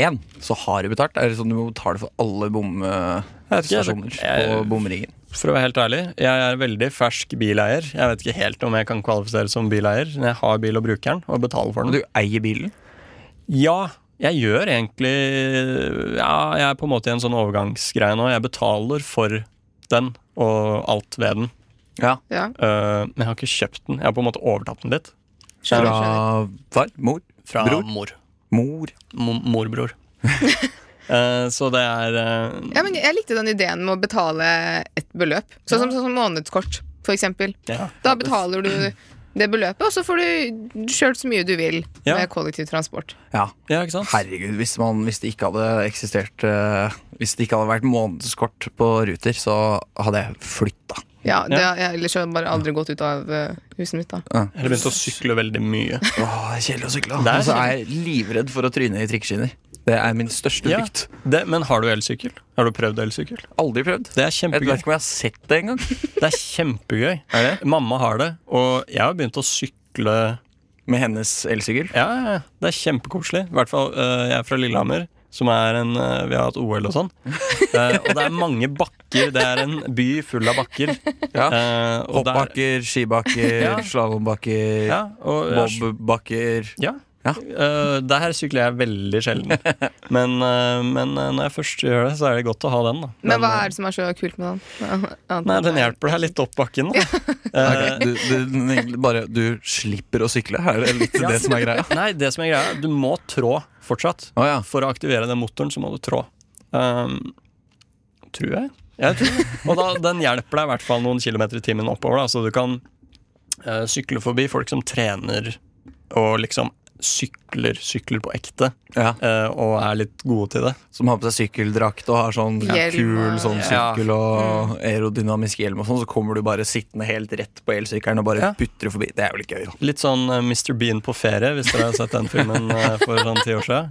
B: én, så har du betalt? Er det sånn du må betale for alle
A: vet ikke, jeg-
B: bomstasjoner på
A: jeg-
B: bomringen?
A: For å være helt ærlig, jeg er veldig fersk bileier. Jeg vet ikke helt om jeg kan kvalifisere som bileier, men jeg har bil og bruker den, og betaler for
B: Og
A: den.
B: du eier bilen?
A: Ja, jeg gjør egentlig Ja, jeg er på en måte i en sånn overgangsgreie nå. Jeg betaler for den og alt ved den,
B: Ja.
C: ja.
A: Eh, men jeg har ikke kjøpt den. Jeg har på en måte overtatt den litt.
C: Skjønner, skjønner.
B: Fra far? Mor?
A: Fra
B: Bror?
A: mor.
B: Mor?
A: Mo- morbror. Eh, så det er eh,
C: Ja, men jeg likte den ideen med å betale et beløp. Sånn som, sånn som månedskort, for eksempel.
A: ja.
C: Da betaler du det beløpet, og så får du kjørt så mye du vil
A: Ja.
C: med kollektivtransport.
B: Ja.
A: ja, ikke sant?
B: Herregud, hvis, man, hvis det ikke hadde eksistert eh, Hvis det ikke hadde vært månedskort på Ruter, så hadde jeg flytta.
C: Ja, det, ja, Ellers har jeg bare aldri gått ut av eh, huset mitt, da.
A: Eller begynte å sykle veldig mye.
B: Åh, det er kjedelig å sykle.
A: Det er
B: Og så er jeg livredd for å tryne i trikkeskinner. Det er min største
A: Ja.
B: frykt.
A: Det, men har du elsykkel? Har du prøvd elsykkel?
B: Aldri prøvd.
A: Det er
B: Jeg vet
A: kjempegøy.
B: ikke om jeg har sett det engang.
A: Det er kjempegøy.
B: Er det?
A: Mamma har det, og jeg har begynt å sykle
B: Med hennes elsykkel.
A: Ja, ja, ja. det er kjempekoselig. I hvert fall eh, jeg er fra Lillehammer, som er en eh, Vi har hatt OL og sånn. Eh, og det er mange bakker. Det er en by full av bakker.
B: Ja.
A: Eh, og det er-
B: Hoppbakker, skibakker,
A: Ja.
B: slalåmbakker,
A: ja, og eh,
B: bobbakker
A: Ja.
B: Ja.
A: Eh, der sykler jeg veldig sjelden. Men, eh, men eh, når jeg først gjør det, så er det godt å ha den. Da. eh,
C: Men hva er det som er så kult med den? Annet
A: Nei,
C: enn-
A: Den hjelper deg litt opp bakken. Da. Eh,
B: Ok, du, du, egentlig bare, du slipper å sykle, er det litt
A: Ja.
B: det som er greia?
A: Nei, det som er greia, er at du må trå fortsatt.
B: Å ja.
A: For å aktivere den motoren, så må du trå. Um, tror jeg. jeg tror det. Og da, den hjelper deg i hvert fall noen kilometer i timen oppover, da, så du kan eh, sykle forbi folk som trener og liksom sykler, sykler på ekte,
B: ja.
A: eh, og er litt gode til det.
B: Som har på seg sykkeldrakt og har sånn
C: Hjelm
B: kul
C: og- Mm.
B: sånn
A: Ja.
B: sykkel og aerodynamisk hjelm og sånn, så kommer du bare sittende helt rett på elsykkelen og bare
A: Ja.
B: putrer forbi. Det er vel ikke gøy, da.
A: Litt sånn eh, Mr. Bean på ferie, hvis dere har sett den filmen eh, for sånn ti år siden.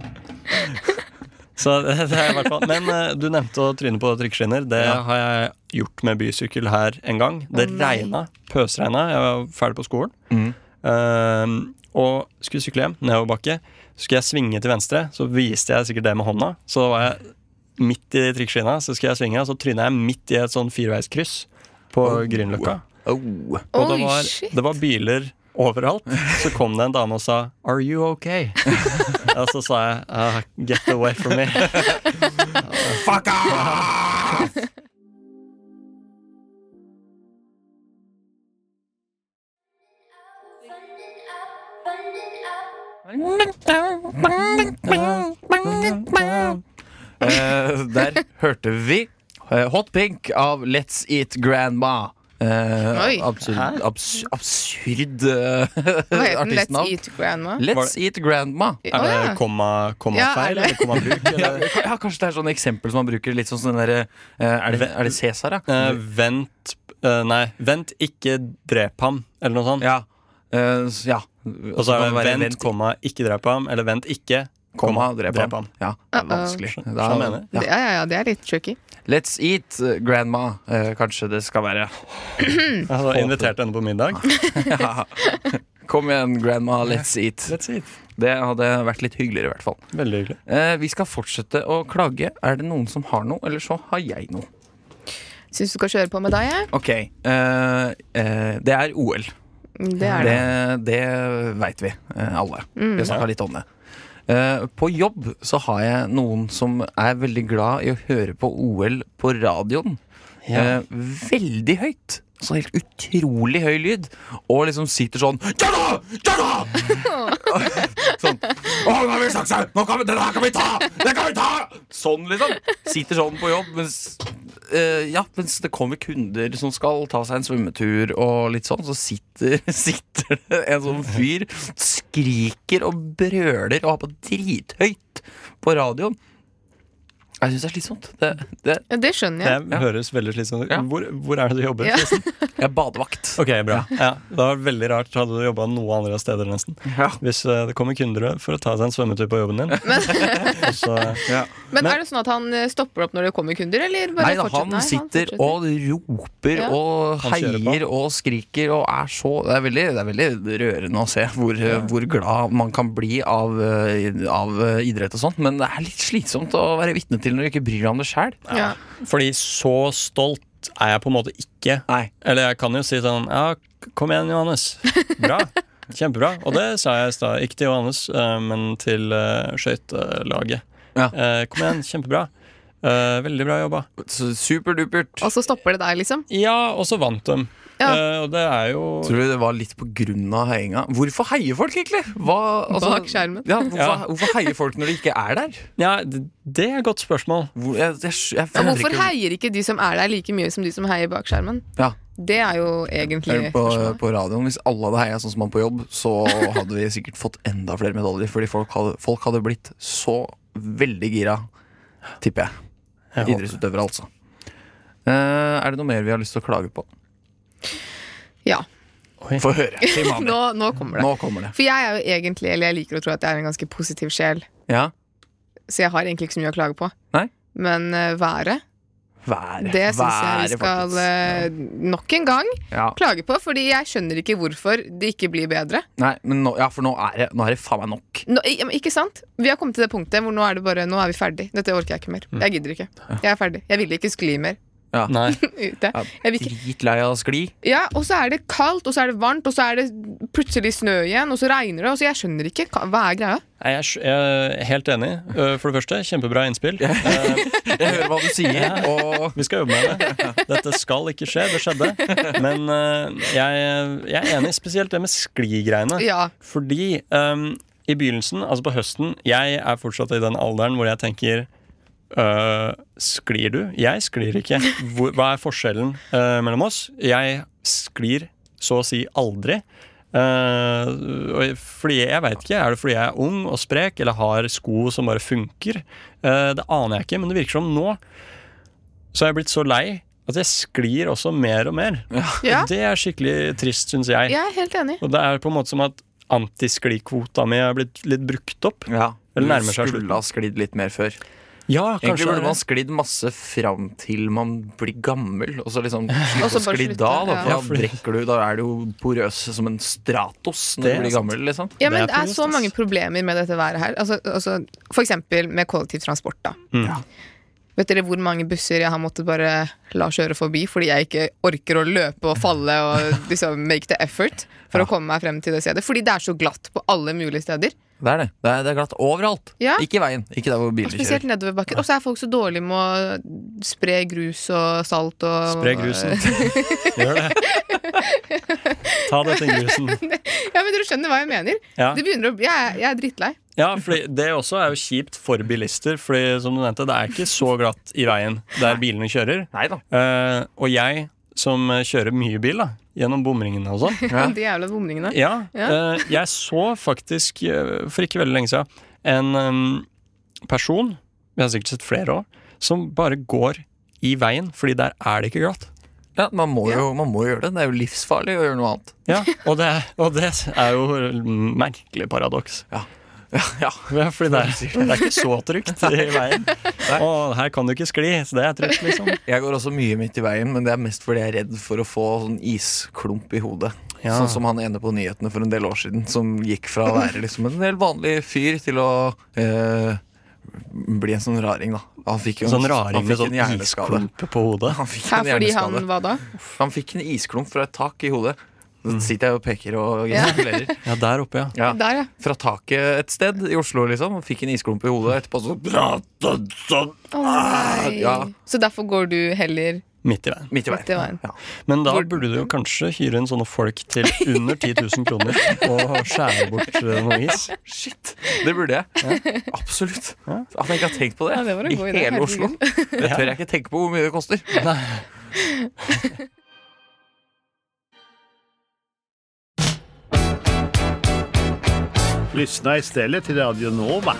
A: Så det det er i hvert fall Men eh, du nevnte å tryne på trikkeskinner. Det
B: Ja.
A: har jeg gjort med bysykkel her en gang. Det
C: Å, nei.
A: regna. Pøsregna. Jeg var ferdig på skolen.
B: Mhm.
A: Ehm, og skulle sykle hjem, nedoverbakke. Så skulle jeg svinge til venstre, så viste jeg sikkert det med hånda. Så var jeg midt i trikkeskinna, så skulle jeg svinge, og så tryna jeg midt i et sånn fireveiskryss. på Grünerløkka.
B: Oh.
A: Og det
C: Oi,
A: var,
C: shit.
A: det var biler overalt. Så kom det en dame og sa 'Are you okay?' og så sa jeg «Ah, 'Get away from me'.
B: Fuck off! Eh, der hørte vi eh, Hot Pink av Let's Eat Grandma. Eh,
C: Oi.
B: absurd abs absurd eh,
C: Hva het den? Let's
B: artistnavn.
C: Eat Grandma?
B: Let's Eat Grandma.
C: Å,
A: Er
C: ja.
A: det komma, komma
C: Ja, er
A: feil,
C: det?
A: eller komma bruk? Eller?
B: Ja, kanskje det er sånne eksempel som man bruker. Litt sånn som den derre eh, er, det- er det Cæsar, ja?
A: Eh, vent eh, Nei, vent, ikke drep ham, eller noe sånt.
B: ja. Eh, s- ja.
A: Og så er
B: kan
A: det
B: være
A: vent, komma, ikke drep ham, eller vent, ikke
B: komma, drep ham. Ja, det er
C: Uh-oh.
B: vanskelig.
A: Skjønner
B: Da-
A: du hva jeg mener?
B: ja.
C: Det, ja, ja, ja, det er litt tricky.
B: Let's Eat eh, Grandma. Eh, kanskje det skal være.
A: Jeg har invitert henne på middag.
B: Ja. Kom igjen, Grandma, let's eat.
A: That's it.
B: Det hadde vært litt hyggeligere, i hvert fall.
A: Veldig hyggelig.
B: Eh, vi skal fortsette å klage. Er det noen som har noe, eller så har jeg noe.
C: Syns du skal kjøre på med deg, jeg?
B: Ok, eh, eh, det er OL.
C: Det er det. Mm.
B: Det, det veit vi eh, alle. Vi har snakka litt om det. Eh, på jobb så har jeg noen som er veldig glad i å høre på OL på radioen. Eh, veldig høyt. Så helt utrolig høy lyd. Og liksom sitter sånn Ja da! Ja da! sånn. Å, nå har vi sagt seg! Nå kan vi, det der kan vi ta! Det kan vi ta! Sånn, liksom. Sitter sånn på jobb mens eh, ja, mens det kommer kunder som skal ta seg en svømmetur og litt sånn, så sitter, sitter det en sånn fyr, skriker og brøler og har på drithøyt på radioen. Jeg syns det er slitsomt. Det, det,
C: Ja, det skjønner
A: Det
C: jeg.
A: høres veldig slitsomt ut.
B: Ja.
A: Hvor, hvor er det du jobber?
C: Ja.
A: forresten?
B: jeg er badevakt.
A: Ok, bra. Ja, det var veldig rart hadde du jobba noe andre steder, nesten.
B: Ja.
A: Hvis eh, det kommer kunder for å ta seg en svømmetur på jobben din. Og så,
C: Men er det sånn at han eh, stopper opp når det kommer kunder, eller bare
B: Nei, da,
C: fortsetter?
B: han sitter og roper
C: Ja.
B: og
A: Han kjører
B: heier og skriker og er så Det er veldig, det er veldig rørende å se hvor, hvor glad man kan bli av, eh, av eh, idrett og sånt, men det er litt slitsomt å være vitne til når du ikke bryr deg om det sjæl.
C: ja.
A: fordi så stolt er jeg på en måte ikke.
B: Nei.
A: Eller jeg kan jo si sånn Ja, kom igjen, Johannes. Bra. Kjempebra. Og det sa jeg i stad. Ikke til Johannes, eh, men til eh, skøytelaget.
B: Ja.
A: Eh, Kom igjen, kjempebra. Eh, Veldig bra jobba.
B: Så Superdupert.
C: Og så stopper det der, liksom?
A: Ja, og så vant de.
C: Ja.
A: Eh, Og det er jo
B: Tror du det var litt på grunn av heiinga? Hvorfor heier folk egentlig? Hva, altså-
C: Bak skjermen.
B: Ja, hvorfor,
A: Ja.
B: hvorfor heier folk når de ikke er der?
A: Ja, det det er et godt spørsmål.
B: Hvor, jeg, jeg, jeg,
C: Men
B: fatter
C: hvorfor
B: ikke-
C: heier ikke de som er der, like mye som de som heier bak skjermen?
B: Ja.
C: Det er jo egentlig
B: på, eh,
C: spørsmålet.
B: på radioen Hvis alle hadde heia sånn som man på jobb, så hadde vi sikkert fått enda flere medaljer. Fordi folk hadde, folk hadde blitt så veldig gira, tipper jeg.
A: Jeg håper.
B: Idrettsutøvere, altså. Eh, er det noe mer vi har lyst til å klage på?
C: Ja,
B: Få høre. Timani.
C: nå, nå kommer det.
B: Nå kommer det.
C: For jeg er jo egentlig, eller jeg liker å tro at jeg er en ganske positiv sjel,
B: Ja.
C: så jeg har egentlig ikke så mye å klage på.
B: Nei.
C: Men eh, været,
B: Været.
C: det syns jeg
B: Været,
C: vi skal
B: folkens.
C: eh, nok en gang
B: ja.
C: klage på, fordi jeg skjønner ikke hvorfor det ikke blir bedre.
B: Nei, men nå, ja, for nå er det, nå er det faen meg nok.
C: Nå, ja, men ikke sant? Vi har kommet til det punktet hvor nå er det bare Nå er vi ferdig. Dette orker jeg
B: Mm.
C: ikke mer. Jeg gidder ikke. Jeg er ferdig. Jeg vil ikke skli mer
A: Nei.
C: ute.
B: Ja,
C: Jeg vil ikke
B: Dritlei av å skli.
C: Ja, og så er det kaldt, og så er det varmt, og så er det plutselig snø igjen, og så regner det, og så jeg skjønner ikke hva- hva er greia.
A: Nei, Jeg er sj- jeg er helt enig. Eh, For det første, kjempebra innspill. Eh,
B: Jeg hører hva du sier, og
A: Vi skal jobbe med det. Dette skal ikke skje. Det skjedde. Men eh, jeg, jeg er enig, spesielt det med skligreiene.
C: Ja,
A: Fordi ehm, i begynnelsen, altså på høsten Jeg er fortsatt i den alderen hvor jeg tenker øh, Sklir du? Jeg sklir ikke. Hvor, hva er forskjellen øh, mellom oss? Jeg sklir så å si aldri. Eh, og jeg- fordi jeg vet ikke. Er det fordi jeg er ung og sprek eller har sko som bare funker? Eh, det aner jeg ikke, men det virker som nå så har jeg blitt så lei at jeg sklir også mer og mer.
C: ja
A: Og det er skikkelig trist, syns jeg.
C: jeg er helt enig.
A: Og det er på en måte som at antisklikvota mi er blitt litt brukt opp.
B: ja,
A: Eller nærmer seg
B: Skulle
A: slutten.
B: ha sklidd litt mer før.
A: Ja,
B: Egentlig burde man sklidd masse fram til man blir gammel, og så liksom
C: Og
B: slutte
C: så
B: å
C: bare
B: skli
C: slutte,
B: da. da for
C: ja.
A: Ja,
B: da
A: fordi-
B: brekker du, da er du jo porøs som en stratos når
A: Det
B: du
A: er
B: blir
A: sant.
B: gammel. liksom
C: Ja, men
A: Det er
C: det er
A: trist,
C: så
A: ass.
C: mange problemer med dette været her. Altså, altså, for eksempel med kollektivtransport, da.
A: Mm.
C: Vet dere hvor mange busser jeg har måttet bare la kjøre forbi fordi jeg ikke orker å løpe og falle og liksom make the effort for
B: Ja.
C: å komme meg frem til det stedet? Fordi det er så glatt på alle mulige steder.
B: Det er det. Det er, det er glatt overalt.
C: Ja.
B: Ikke i veien. Ikke der hvor
C: Og
B: biler
C: spesielt
B: kjører.
C: nedoverbakker. Og så er folk så dårlige med å spre grus og salt og
A: Spre grusen. Gjør det. Ta dette grusen.
C: Ja, men dere skjønner hva jeg mener.
A: Ja.
C: Det begynner å bli, jeg, er- jeg er drittlei.
A: Ja, fordi Det også er jo kjipt for bilister, Fordi som du nevnte, det er ikke så glatt i veien der bilene kjører.
B: Nei da.
A: Eh, og jeg, som eh, kjører mye bil, da, gjennom bomringene og sånn
B: Ja.
C: De jævla bomringene.
A: Ja,
C: Ja.
A: eh, jeg så faktisk, eh, for ikke veldig lenge siden, en eh, person, vi har sikkert sett flere òg, som bare går i veien, fordi der er det ikke glatt.
B: Ja, man, må jo, man må gjøre det. Det er jo livsfarlig å gjøre noe annet.
A: Ja, og det, og det er jo et merkelig paradoks.
B: Ja,
A: Ja, Fordi det er, det er ikke så trygt i veien. Og her kan du ikke skli, så det er trygt, liksom.
B: Jeg går også mye midt i veien, men det er mest fordi jeg er redd for å få sånn isklump i hodet.
A: Ja.
B: Sånn som han ene på nyhetene for en del år siden, som gikk fra å være liksom en helt vanlig fyr til å eh, bli en sånn raring, da. Han fikk jo en,
A: Sånn raring
B: han
A: med
B: fikk
A: sånn
B: en hjerneskade.
A: isklump på hodet.
B: Han fikk
C: Her
B: en
C: fordi
B: hjerneskade.
C: han hva da?
B: Han fikk en isklump fra et tak i hodet. Så
A: Mm.
B: sitter jeg og peker og gestikulerer.
A: Ja, der oppe, ja.
B: Ja.
C: Der, ja.
B: Fra taket et sted i Oslo, liksom. og Fikk en isklump i hodet, og etterpå så bra, da, da,
C: Å nei.
B: Ah, Ja.
C: Så derfor går du heller
A: Midt i veien.
B: Midt i
C: Midt i veien.
B: veien. Ja.
A: Men da burde du jo kanskje hyre inn sånne folk til under 10 000 kroner og skjære bort eh, noe is.
B: Shit, det burde jeg. Absolutt. At jeg ikke har tenkt på det,
C: Ja, det var en
B: i
C: god idé,
B: hele Oslo.
C: herregud.
B: Det tør jeg ikke tenke på hvor mye det koster.
D: Lyssna istället till Radio Nova.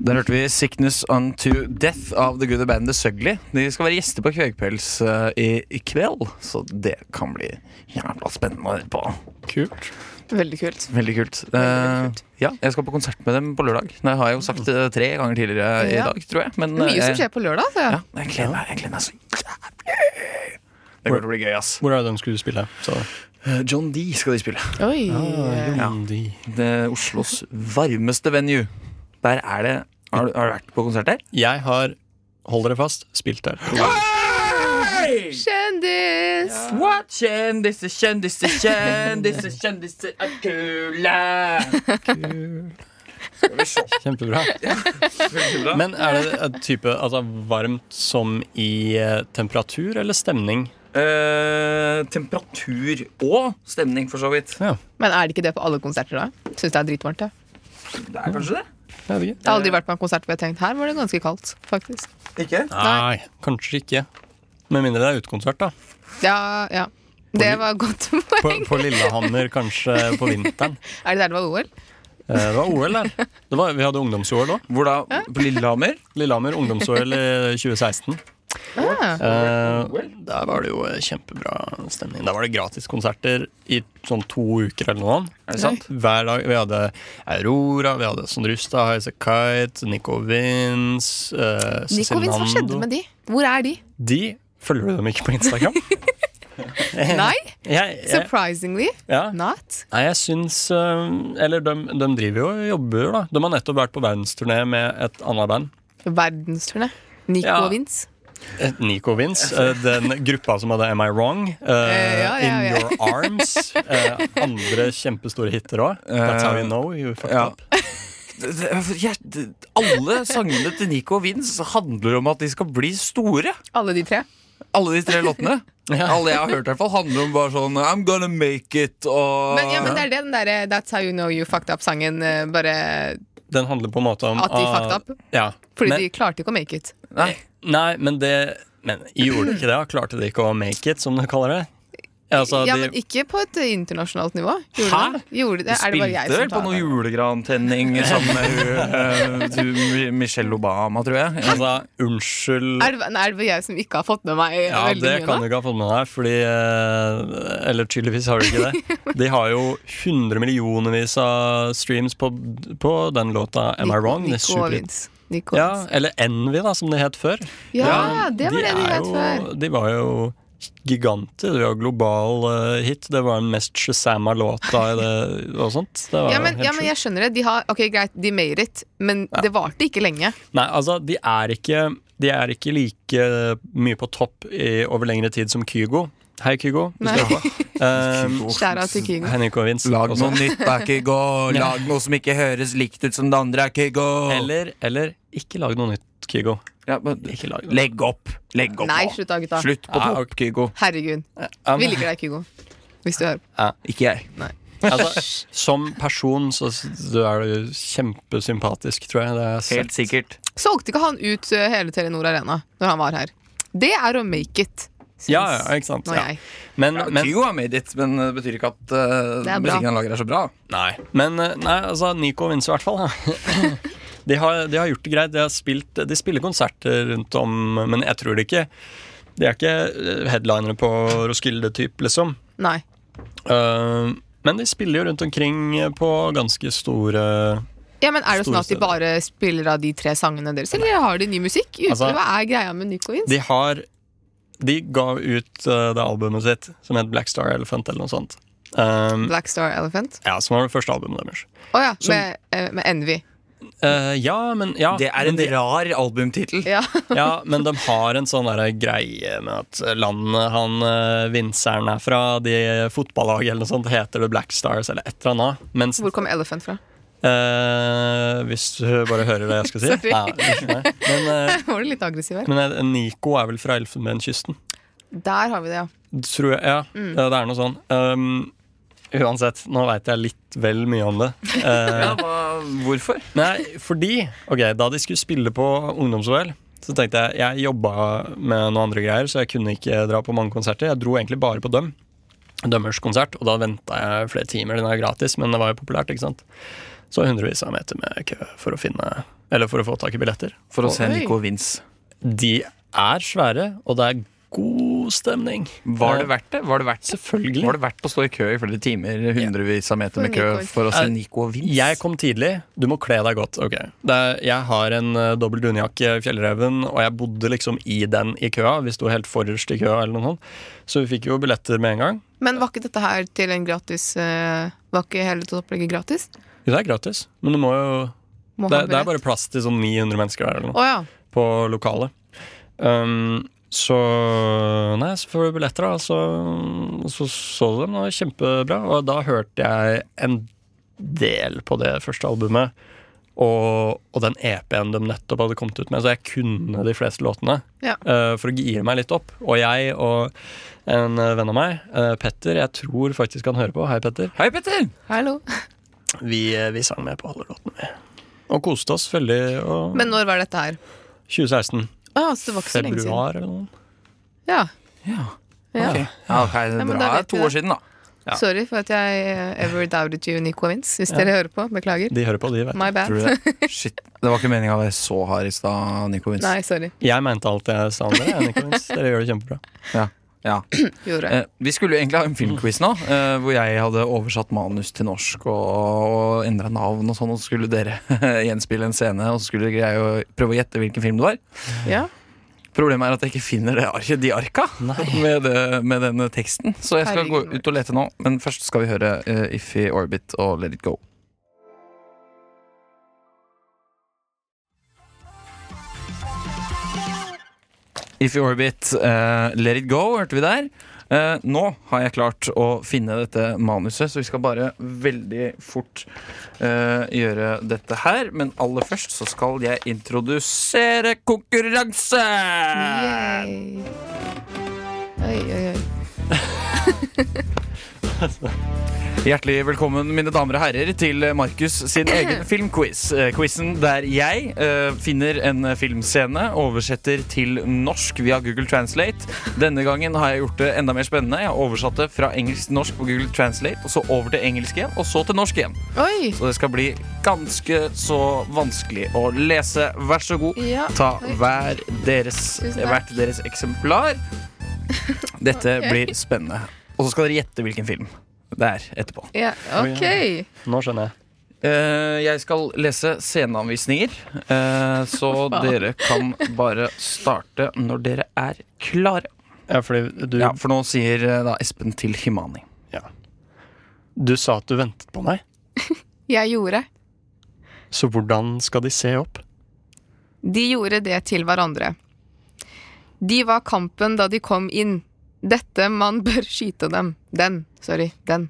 B: Der hørte vi 'Sickness Unto Death' av The Good Band The Sugly. De skal være gjester på Kvegpels eh, i, i kveld, så det kan bli jævla spennende å høre på.
A: Kult.
C: Veldig kult.
B: Veldig kult.
C: veldig kult.
B: Eh, ja, jeg skal på konsert med dem på lørdag. Det har jeg jo sagt eh, tre ganger tidligere i
C: Ja.
B: dag, tror jeg. Men, eh,
C: Mye som
B: jeg-
C: skjer på lørdag. Så.
B: Ja, jeg gleder meg, jeg gleder meg så jævlig. Det kommer til å bli gøy, ass.
A: Hvor er det de skulle spille? Så.
B: Eh, John D skal de spille.
C: Oi.
B: Ah, Det er Oslos varmeste venue. Der er det Har du, har du vært på konsert der?
A: Jeg har, hold dere fast, spilt der.
C: Kjendis!
B: What? Kjendiser, kjendiser, kjendiser, kjendiser er kule!
A: Kjempebra. Men er det et type altså, varmt som i eh, temperatur eller stemning?
B: Eh, temperatur og stemning, for så vidt.
C: Men er det ikke det på alle konserter, da? Syns det er dritvarmt. Ja.
B: Det er kanskje det?
A: Jeg vet ikke.
C: Jeg har aldri vært på en konsert hvor jeg har tenkt her var det ganske kaldt. faktisk
B: Ikke?
A: Nei, kanskje ikke. Med mindre det er utekonsert, da.
C: Ja, ja Det var godt poeng.
A: På, på Lillehammer, kanskje på vinteren.
C: Er det der det var OL?
A: Eh, Det var OL der. Det var, vi hadde ungdoms-OL òg.
B: Hvor da? På Lillehammer?
A: Lillehammer eh, ungdoms-OL i 2016.
C: Ah.
A: Eh, der var det jo eh, kjempebra stemning. Der var det gratiskonserter i sånn to uker eller noe.
B: Er det sant?
A: Hver dag. Vi hadde Aurora, vi hadde Sondre Justad, Highasakite, Kite, Nico Vince eh,
C: Nico Vince, hva skjedde med de? Hvor er de?
A: De følger du dem ikke på Instagram?
C: Nei,
A: Jeg, jeg,
C: surprisingly
A: ja.
C: not.
A: Nei, jeg syns eh, Eller de, de driver jo og jobber, da. De har nettopp vært på verdensturné med et annet band.
C: Verdensturné. Nico
A: Ja.
C: og Vince.
A: Eh, Nico Vince. eh, Den gruppa som hadde Am I Wrong? eh,
C: ja, ja, ja.
A: In Your Arms. eh, andre kjempestore hiter òg. That's How You Know You Fucked
B: ja.
A: Up.
B: Det- det- jeg- det- Alle sangene til Nico og Vince handler om at de skal bli store.
C: Alle de tre.
B: Alle de tre låtene.
A: Ja.
B: Alle jeg har hørt, i hvert fall handler om bare sånn I'm gonna make it og
C: Men, ja, men det er det, den derre That's How You Know You Fucked Up-sangen. eh, Bare
A: Den handler på en måte om
C: At de
A: ah,
C: fucked up?
A: Ja.
C: fordi
A: men,
C: de klarte ikke å make it.
B: Nei.
A: Nei, men det Men gjorde de ikke det? da? Klarte de ikke å make it, som de kaller det? Altså,
C: ja,
A: de,
C: men ikke på et internasjonalt nivå. Gjorde
A: Hæ?
C: det? Gjorde det? Er det bare
B: Spilte
C: jeg som
B: vel på
C: tar
B: noe
C: det?
B: julegrantenning sammen med hun, eh, du, Michelle Obama, tror jeg.
A: altså, unnskyld
C: Er det, nei, er det bare jeg som ikke har fått med meg
A: Ja,
C: veldig
A: det kan
C: mye nå?
A: du ikke ha fått med deg, fordi eh, Eller tydeligvis har du ikke det. De har jo 100 millionervis av streams på, på den låta Am I
C: Nico-
A: Wrong? Det er
C: Nico og
A: superhit.
C: Vince. Nico og
A: Ja,
C: Vince.
A: eller Envy, da, som det het før.
C: ja, det var
A: de
C: det de
A: er
C: het
A: jo-
C: før.
A: De var jo giganter. Det var global eh, hit. Det var den mest shazama låta i det og sånt. Det var
C: Ja men,
A: helt
C: ja, men
A: sjukt.
C: jeg skjønner det. De har, ok, Greit, de made it, men det varte ikke lenge.
A: Nei, altså, de er ikke De er ikke like eh, mye på topp i, over lengre tid som Kygo. Hei, Kygo.
C: Nei.
A: Um,
C: Skjæra til Kygo.
A: Henrik og Vince.
B: Lag
A: også.
B: noe nytt, da, Kygo. Lag noe som ikke høres likt ut som det andre, Kygo.
A: Eller, eller ikke lag noe nytt, Kygo.
B: Ja, men,
A: Ikke lag noe.
B: legg opp. Legg opp
C: Nei,
B: nå.
C: slutt da, gutta.
B: Slutt på
A: Ja,
B: topp, Kygo.
C: Herregud.
A: Ja,
C: Vi
A: men-
C: liker deg, Kygo. Hvis du hører.
B: Ikke jeg.
A: altså, som person så s- du er du kjempesympatisk, tror jeg. Det er
B: Helt sikkert.
C: Solgte ikke han ut eh, hele Telenor Arena når han var her? Det er å make it, syns
A: Ja, ja, ikke sant.
C: nå
A: Ja.
C: jeg.
A: Men,
B: Ja,
A: men,
B: Kygo har made it, men det betyr ikke at uh,
C: Det er bra.
B: musikken han lager, er så bra.
A: nei. men eh, nei, altså, Nico og Vince i hvert fall. da. De har, de har gjort det greit. De, har spilt, de spiller konserter rundt om, men jeg tror det ikke. De er ikke eh, headlinere på Roskilde-type, liksom.
C: Nei.
A: Eh, men de spiller jo rundt omkring på ganske store
C: Ja, men Er
A: Store
C: det sånn at de
A: steder.
C: bare spiller av de tre sangene deres, eller har de ny musikk? Ute,
A: Altså-
C: Hva er greia med Nico Inns?
A: De har De ga ut eh, det albumet sitt som het Black Star Elephant, eller noe sånt. Um,
C: Black Star Elephant?
A: Ja, som var det første albumet deres.
C: Å ja,
A: Som-
C: med, eh, med Envy.
A: Eh, ja, men, ja, men de,
B: rar albumtittel.
C: Ja.
A: ja, men de har en sånn derre greie med at landet han uh, vinseren er fra, de fotballaget eller noe sånt, heter det Black Stars eller et eller annet. Mens
C: Hvor kom Elephant fra?
A: eh, Hvis du bare hører det jeg skal si.
C: Sorry.
A: Ja, ikke meg. men eh,
C: Var du litt aggressiv her?
A: men eh, Nico er vel fra Elfenbenskysten?
C: Mm. Der har vi det, ja.
A: Tror jeg, ja.
C: Mm.
A: Eh, Det er noe sånn. Um, uansett, nå veit jeg litt vel mye om det. Eh,
B: hvorfor?
A: Nei, fordi Ok, da de skulle spille på ungdoms-OL Så tenkte jeg, jeg jobba med noen andre greier Så jeg kunne ikke dra på mange konserter Jeg dro egentlig bare på dem Dømmers konsert, og da ventet jeg flere timer Den er gratis, men det var jo populært, ikke sant? Så hundrevis av meter med kø for å finne Eller for å få tak i billetter
B: For å
C: se
B: se
C: Oi. Nico
B: Nico Vince.
A: De er svære, og det er god stemning Eh,
B: Var det verdt det? Var det verdt,
A: Selvfølgelig
B: var det verdt å stå i kø i flere timer, hundrevis av meter
C: For
B: med kø,
C: Nico.
B: for å se
A: Eh,
B: Nico og Vince?
A: Jeg kom tidlig. Du må kle deg godt. ok. Det er, jeg har en uh, dobbel dunjakke, Fjellreven, og jeg bodde liksom i den i køa. Vi sto helt forrest i køa, eller noe sånt. Så vi fikk jo billetter med en gang.
C: Men var ikke dette her til en gratis eh, Var ikke hele opplegget gratis?
A: Jo, Det er gratis, men du må jo det,
C: Må ha
A: det er
C: billett.
A: bare plass til sånn 900 mennesker der eller
C: Å
A: noe,
C: ja.
A: på lokalet. Um, så Nei, så får du billetter, da. Så så, så du dem, det var kjempebra. Og da hørte jeg en del på det første albumet. Og, og den EP-en de nettopp hadde kommet ut med. Så jeg kunne de fleste låtene.
C: Ja.
A: eh, for å gire meg litt opp. Og jeg og en eh, venn av meg, eh, Petter, jeg tror faktisk han hører på. Hei, Petter.
B: Hei, Petter!
C: Hallo.
A: Mm. Vi, eh, vi sang med på alle låtene, vi. Og koste oss veldig. Og
C: Men når var dette her?
A: 2016.
C: Å, ja, så det var ikke så lenge siden.
A: Februar eller noe.
C: Ja.
B: Ja,
C: ja.
B: ok. Ja, ok,
C: men
B: bra.
C: da vet
B: to
C: vi
B: år
C: det.
B: siden, da.
A: Ja.
C: Sorry for at jeg eh, ever doubted you, Nico og Vince. Hvis dere hører på, beklager.
A: De hører på, de vet.
C: My bad.
B: Tror du det? Shit, det var ikke meninga å være så hard i stad, Nico Vince.
C: Nei, sorry.
A: Jeg mente alt jeg sa om dere. jeg, Nicolas. Dere gjør det kjempebra.
B: Ja. Ja.
C: Gjorde jeg.
B: Eh, vi skulle jo egentlig ha en filmquiz nå, eh, hvor jeg hadde oversatt manus til norsk og, og endra navn og sånn, og så skulle dere gjenspille en scene, og så skulle dere greie å prøve å gjette hvilken film det var.
C: Ja.
B: Problemet er at jeg ikke finner det arket, de arka med, det, med den teksten. Så jeg skal
C: Herregud.
B: gå ut og lete nå, men først skal vi høre uh, Iffy Orbit og Let It Go. Iffy Orbit, eh, Let It Go, hørte vi der. Eh, nå har jeg klart å finne dette manuset, så vi skal bare veldig fort eh, gjøre dette her. Men aller først så skal jeg introdusere konkurranse!
C: Yay. Oi, oi, oi.
B: Hjertelig velkommen, mine damer og herrer, til Markus sin egen filmquiz. Eh, Quizen der jeg eh, finner en filmscene, oversetter til norsk via Google Translate. Denne gangen har jeg gjort det enda mer spennende. Jeg har oversatt det fra engelsk til norsk på Google Translate, og så over til engelsk igjen, og så til norsk igjen.
C: Oi.
B: Så det skal bli ganske så vanskelig å lese. Vær så god.
C: Ja.
B: Ta
C: Oi.
B: hver deres,
C: Tusen takk.
B: hvert deres eksemplar. Dette
C: Ok.
B: blir spennende. Og så skal dere gjette hvilken film det er etterpå.
C: Ja, ok.
A: Nå skjønner jeg.
B: Eh, jeg skal lese sceneanvisninger, eh, så dere kan bare starte når dere er klare.
A: Ja, fordi du,
B: Ja, for nå sier eh, da Espen til Himani.
A: du sa at du ventet på meg,
C: Jeg gjorde.
A: så hvordan skal de se opp?
C: De gjorde det til hverandre. De var kampen da de kom inn. Dette man bør skyte dem. Den. Sorry. Den.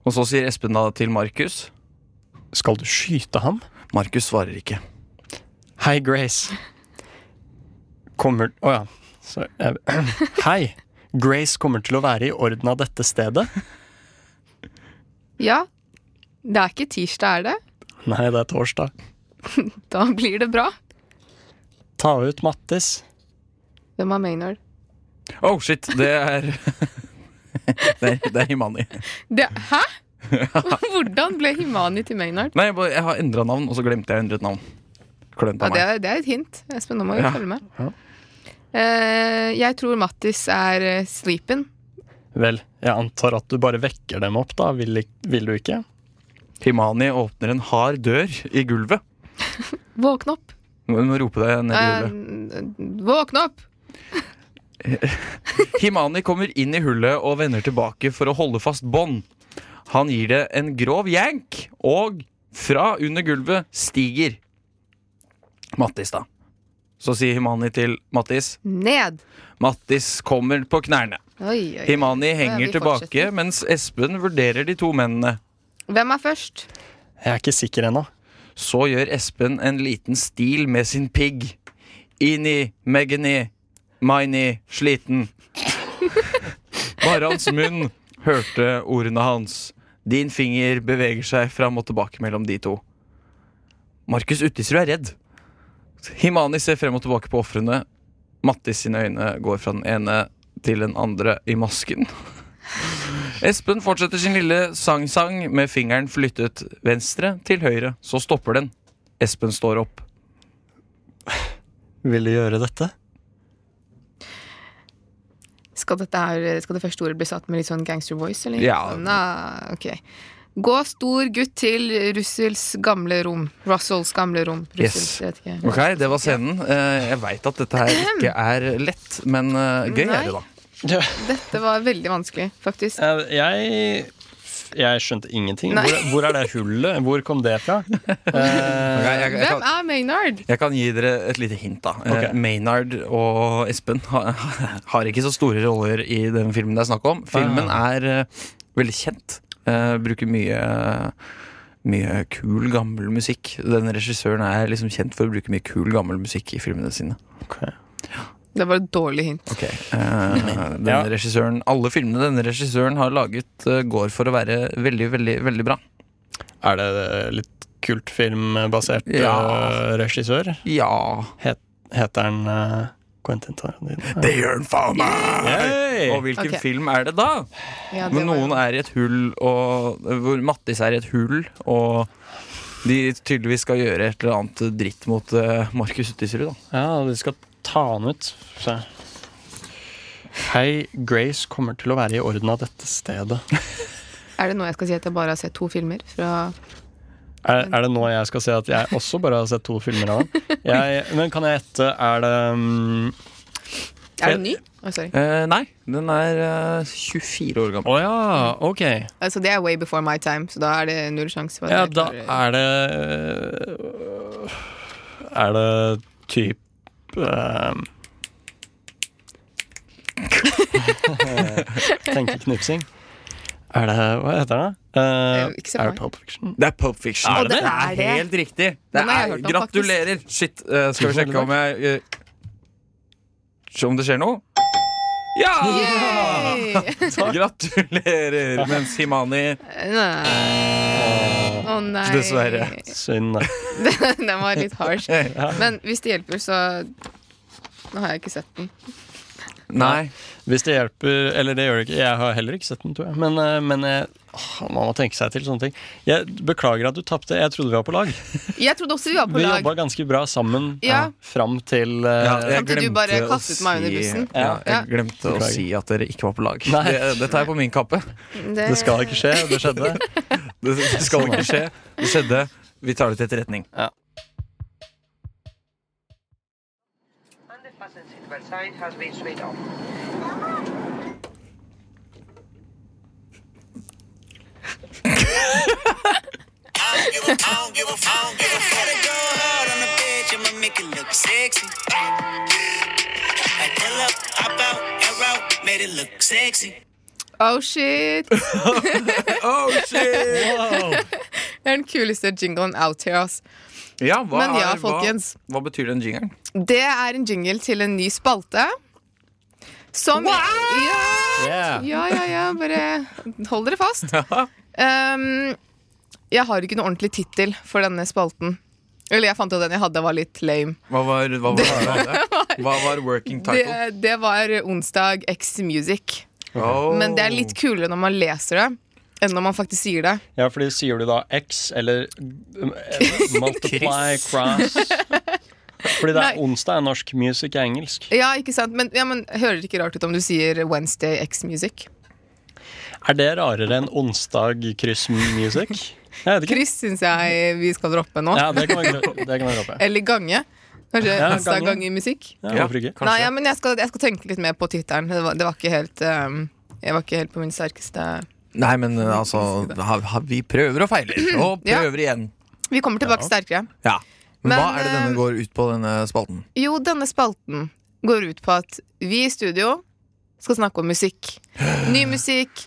B: Og så sier Espen da til Markus.
A: Skal du skyte ham?
B: Markus svarer ikke.
A: Hei, Grace. Kommer Å ja. Sorry. Jeg- Hei. Grace kommer til å være i orden av dette stedet.
C: Ja, det er ikke tirsdag, er det?
A: Nei, det er torsdag.
C: Da blir det bra.
A: Ta ut Mattis.
C: Hvem er Maynard?
B: Oh shit, det er Det er, det er Himani.
C: Det, hæ? Hvordan ble Himani til Maynard?
B: Nei, jeg, bare, jeg har endra navn, og så glemte jeg å endre et navn. Klønt
C: Ja,
B: av meg.
C: det, er, det er et hint. Espen, nå må vi
B: Ja.
C: følge med.
A: Ja.
C: Eh, jeg tror Mattis er eh, sleepen.
A: Vel, jeg antar at du bare vekker dem opp, da. Vil, ik- vil du ikke?
B: Himani åpner en hard dør i gulvet.
C: Våkne opp!
B: Du må rope deg ned i
C: Eh,
B: gulvet.
C: våkne opp!
B: Himani kommer inn i hullet og vender tilbake for å holde fast bånd. Han gir det en grov jank, og fra under gulvet stiger Mattis, da. Så sier Himani til Mattis.
C: Ned!
B: Mattis kommer på knærne.
C: Oi, oi, oi.
B: Himani
C: vi
B: henger tilbake,
C: fortsetter.
B: mens Espen vurderer de to mennene.
C: Hvem er først?
A: Jeg er ikke sikker ennå.
B: Så gjør Espen en liten stil med sin pigg. Inni, Megani, Maini, sliten. Bare hans munn hørte ordene hans. Din finger beveger seg fram og tilbake mellom de to. Markus Uttisrud er redd. Himani ser frem og tilbake på ofrene. Mattis sine øyne går fra den ene til den andre i masken. Espen fortsetter sin lille sang-sang med fingeren flyttet venstre til høyre. Så stopper den. Espen står opp.
A: Vil du gjøre dette?
C: Skal, dette her, skal det første ordet bli satt med litt sånn gangster voice, eller?
B: Ja.
C: Nei, ok. Gå stor gutt til Russells gamle rom. Russells gamle rom. Russells,
B: Yes.
C: jeg vet ikke.
B: Ok, Det var scenen. Eh, Jeg veit at dette her ikke er lett, men eh, gøy er det, da.
C: Dette var veldig vanskelig, faktisk.
A: Eh, Jeg jeg skjønte ingenting.
C: Nei.
A: Hvor, hvor er det hullet? Hvor kom det fra?
B: Ok,
A: Eh,
B: jeg, jeg,
C: Hvem
B: kan,
C: er Maynard?
B: jeg kan gi dere et lite hint, da. Eh,
A: Ok.
B: Maynard og Espen har, har ikke så store roller i den filmen det er snakk om. Filmen er eh, veldig kjent. Eh, Bruker mye mye kul, gammel musikk. Den regissøren er liksom kjent for å bruke mye kul, gammel musikk i filmene sine.
A: ok.
C: Det var et dårlig hint.
B: Ok, eh, denne
A: Ja.
B: regissøren Alle filmene denne regissøren har laget, eh, går for å være veldig, veldig veldig bra.
A: Er det eh, litt kultfilmbasert
B: Ja.
A: eh, regissør?
B: Ja.
A: Heter han eh, Quentin Tarantino?
B: Det gjør den faen meg!
A: Hey!
B: Og hvilken
C: Ok.
B: film er det da?
C: Ja, det
B: Hvor
C: var-
B: noen er i et hull, og hvor Mattis er i et hull, og de tydeligvis skal gjøre et eller annet dritt mot eh, Markus Uttisrud, da.
A: Ja, de skal ta han ut. Se. Hei, Grace kommer til å være i orden av dette stedet.
C: Er det nå jeg skal si at jeg bare har sett to filmer? Fra
A: Er, er det nå jeg skal si at jeg også bare har sett to filmer av han? Jeg, men kan jeg gjette, er det mm,
C: er den ny? Å, sorry.
B: Eh, nei, den er eh, 24 år
A: Å
B: gammel.
A: ja, ok.
C: Altså, det er way before my time, så da er det null sjanse. for at
A: Ja,
C: jeg
A: da
C: klarer-
A: er det øh, Er det typ ehm, Tenker knipsing. Er det Hva heter den, da? Eh,
C: Eh, ikke se på
A: er det
C: meg.
A: Pulp Fiction?
B: Det er Pulp Fiction.
A: Er det
C: det? det?
B: er helt riktig. Det
C: Den har jeg
B: er,
C: hørt om,
B: gratulerer! Shit, eh, skal vi sjekke om jeg eh, se Om det skjer noe? Ja!
C: Yay!
B: Gratulerer! Mens Himani
C: Nei. Å nei.
B: Dessverre.
A: Synd, da.
C: den var litt harsh. Men hvis det hjelper, så Nå har jeg ikke sett den.
B: Nei.
A: Hvis det hjelper Eller det gjør det ikke. Jeg har heller ikke sett den, tror jeg. Men, eh, men jeg, åh, man må tenke seg til sånne ting. Jeg beklager at du tapte. Jeg trodde vi var på lag.
C: Jeg trodde også vi var på
A: Vi
C: lag.
A: jobba ganske bra sammen eh,
C: Ja.
A: fram til eh,
B: jeg
C: Samtidig
B: glemte
C: bare
B: å
C: kastet meg under
B: si-
C: bussen.
B: Ja,
C: Ja.
B: jeg glemte å
A: Beklager.
B: si at dere ikke var på lag.
A: Nei.
B: Det, det tar jeg på min kappe.
C: Det,
A: Det skal ikke skje. Det skjedde.
B: Det, det skal ikke skje. Det skjedde. Vi tar det til etterretning.
E: activated sign has been switched off.
F: I don't give a, I don't give a, I don't give a. Gotta go hard on the bitch, I'ma make it look sexy. I pull up, hop out, and route, made it look sexy.
C: Oh shit! Det
B: Oh, shit!
A: Wow.
C: er den kuleste jinglen out here, ass.
B: Ja, hva
C: Men ja,
B: er-
C: folkens.
B: Hva, hva betyr den jingeren?
C: Det er en jingle til en ny spalte. Som ja,
A: Yeah.
C: ja, ja, ja, bare hold dere fast. Um, jeg har ikke noe ordentlig tittel for denne spalten. Eller jeg fant jo den jeg hadde, var litt lame.
B: Hva var, hva var, hva var working
C: Det,
B: title?
C: det var Onsdag X Music.
B: Oh.
C: Men det er litt kulere når man leser det, enn når man faktisk sier det.
A: Ja, fordi sier du da X eller eh, multiply, cross Fordi det
C: Nei.
A: er onsdag er norsk, music er engelsk.
C: Ja, ikke sant? Men, ja, men hører det ikke rart ut om du sier Wednesday X Music?
A: Er det rarere enn onsdag kryss music? Jeg vet ikke.
C: Kryss syns jeg vi skal droppe nå.
A: Ja, det kan man gro- det kan man droppe.
C: Eller gange. Kanskje
A: Ja,
C: onsdag
A: gange.
C: gange musikk.
A: Ja,
B: Ja,
A: hvorfor ikke?
B: kanskje.
C: Nei, ja, men jeg skal, jeg skal tenke litt mer på tittelen. Det, var- det var ikke helt um, Jeg var ikke helt på min sterkeste
B: Nei, men uh, altså ha, ha, Vi prøver og feiler. Og
C: Ja.
B: prøver igjen.
C: Vi kommer tilbake sterkere.
B: Ja. Men, hva
C: Men,
B: er det denne
C: eh,
B: går ut på, denne spalten?
C: Jo, denne spalten går ut på at vi i studio skal snakke om musikk. Ny musikk,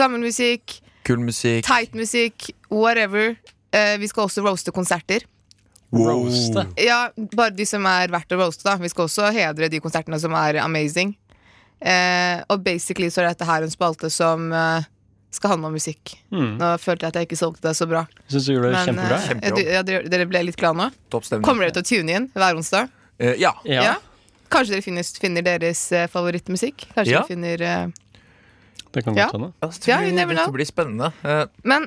C: gammel musikk,
B: Kul musikk.
C: tight musikk, whatever. Eh, vi skal også roaste konserter.
A: Roaste.
C: Ja, bare de som er verdt å roaste, da. Vi skal også hedre de konsertene som er amazing. Eh, og basically så er dette her en spalte som eh, skal handle om musikk.
B: Hmm.
A: Mm.
C: Nå følte jeg at jeg ikke solgte det så bra.
A: Syns du gjorde det
C: Men
A: kjempebra?
C: eh,
B: Kjempejobb.
C: du- ja, dere, dere ble litt glad nå?
B: Topp stemning.
C: Kommer dere til å tune inn hver onsdag?
B: Eh, ja.
A: Ja.
C: Kanskje dere finner, finner deres eh, favorittmusikk? Kanskje
B: Ja.
C: dere finner eh,
A: Det kan
C: Ja.
A: godt hende.
B: Altså,
C: Ja,
B: det
C: you never
B: blir-
C: know.
B: Dette blir spennende. Eh,
C: Men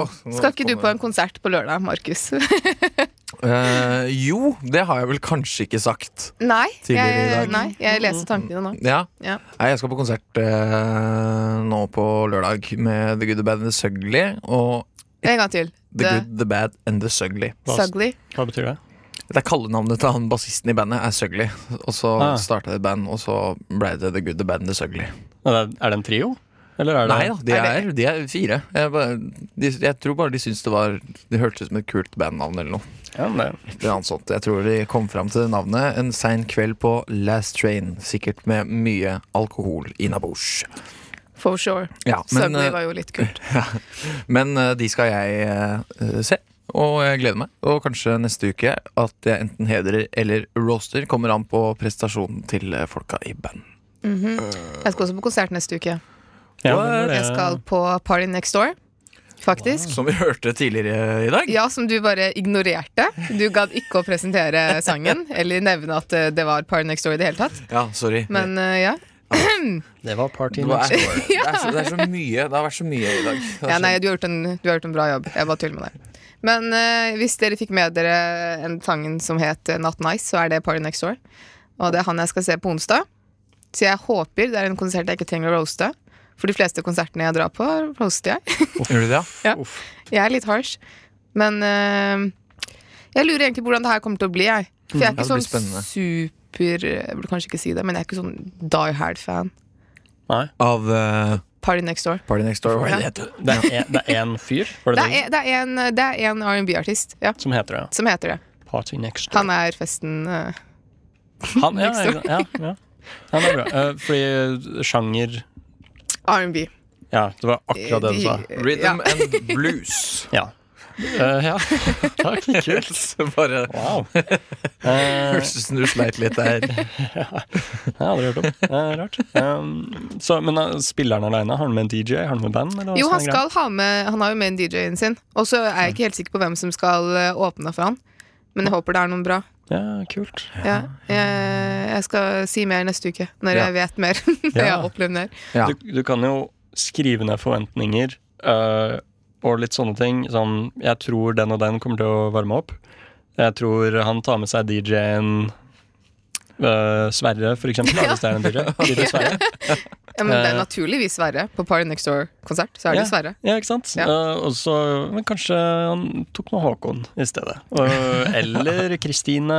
B: åh, nå
C: skal ikke du
B: kommer-
C: på en konsert på lørdag, Markus?
B: Eh, jo, det har jeg vel kanskje ikke sagt.
C: nei,
B: Tidligere i
C: jeg,
B: dag.
C: nei, jeg leser tankene nå.
B: Ja.
C: Ja.
B: Nei, jeg skal på konsert eh, nå på lørdag med The Good, The Bad and The Sugly. Og
C: En gang til.
B: The
C: The
B: Good, The Bad and The Sugly.
A: Hva-
C: Sugly.
A: Hva betyr det?
B: Det er kallenavnet til han bassisten i bandet er Sugly. Og så
A: Ah.
B: starta det band, og så ble det The Good, The Bad and The Sugly.
A: Er det- er det en trio? Eller er det
B: Nei da, de
C: Er
B: er,
C: det-
B: de er fire. Jeg, bare, de, jeg tror bare de syntes det var Det hørtes ut som et kult bandnavn eller noe.
A: Ja, men det-
B: Det er annet sånt. Jeg tror de kom fram til det navnet en sein kveld på Last Train. Sikkert med mye alkohol innabords.
C: For sure.
B: Ja, men,
C: Sugly
B: eh,
C: var jo litt kult.
B: Men eh, de skal jeg eh, se, og jeg gleder meg. Og kanskje neste uke at jeg enten hedrer eller roaster. Kommer an på prestasjonen til eh, folka i band.
C: Jeg skal også på konsert neste uke.
A: ja, men det-
C: Jeg skal på Party Next Door, faktisk.
B: Som vi hørte tidligere i dag.
C: Ja, som du bare ignorerte. Du gadd ikke å presentere sangen eller nevne at eh, det var Party Next Door i det hele tatt.
B: Ja, sorry.
C: Men eh, ja.
A: Det var party
B: det, var, det, er så, det er så mye. Det har vært så mye i dag. Det er
C: ja
B: så-
C: nei, du har, gjort en, du har gjort en bra jobb. Jeg bare tuller med deg. Men eh, hvis dere fikk med dere en sangen som het eh, Not Nice, så er det Party Next Door. Og det er han jeg skal se på onsdag. Så jeg håper det er en konsert jeg ikke trenger å roaste. For de fleste konsertene jeg drar på, roaster jeg.
B: Gjør du det, ja?
C: Jeg er litt harsh, men eh, jeg lurer egentlig på hvordan det her kommer til å bli. Jeg. For jeg er
B: Mm, Ja, det
C: ikke
B: blir
C: sånn
B: spennende.
C: super Jeg burde kanskje ikke si det, men jeg er ikke sånn Die Hard-fan.
A: Nei,
B: Av eh,
C: Party Next Door.
B: Party Next Door. Hva
C: Ja.
B: er det det heter?
A: det er en- det er én fyr var
C: Det
A: det det,
C: er, det er en, det er en R&B-artist ja,
A: som heter det.
C: som heter det.
A: Party next door.
C: Han er festen eh,
A: Han, ja,
C: next door.
A: ja, ja. Han er bra. Eh, fordi sjanger
C: R&B.
A: Ja, det var akkurat det du sa.
C: Eh, De- ja.
B: Rhythm and blues.
A: Ja. Eh, ja. Takk, kult.
B: Bare
A: Wow. Eh,
B: hørtes ut som du sleit litt der.
A: jeg har aldri hørt om. Eh, rart. Um, så, men uh, spilleren aleine, har han med en DJ? Har han med band? Eller
C: Jo,
A: hvordan
C: han
A: er
C: skal ha med Han har jo med en DJ-en sin. Og så er jeg ikke helt sikker på hvem som skal eh, åpne for han. Men jeg håper det er noen bra.
A: greia? Ja, kult.
C: Ja, jeg, jeg skal si mer neste uke, når
B: Ja.
C: jeg vet mer. Når jeg
A: Ja.
C: har opplevd mer.
B: Ja.
A: Du, du kan jo skrive ned forventninger øh, og litt sånne ting. Sånn, jeg tror den og den kommer til å varme opp. Jeg tror han tar med seg DJ-en øh, Sverre, for eksempel. da, Hvis det er en DJ. DJ Sverre.
C: Ja, men det er
A: Eh.
C: naturligvis Sverre. På Party Next Door-konsert så er det Sverre.
A: Ja, ikke sant?
C: Ja.
A: Øh, og så, men kanskje han tok med eh, Håkon i stedet. Og- eller Kristine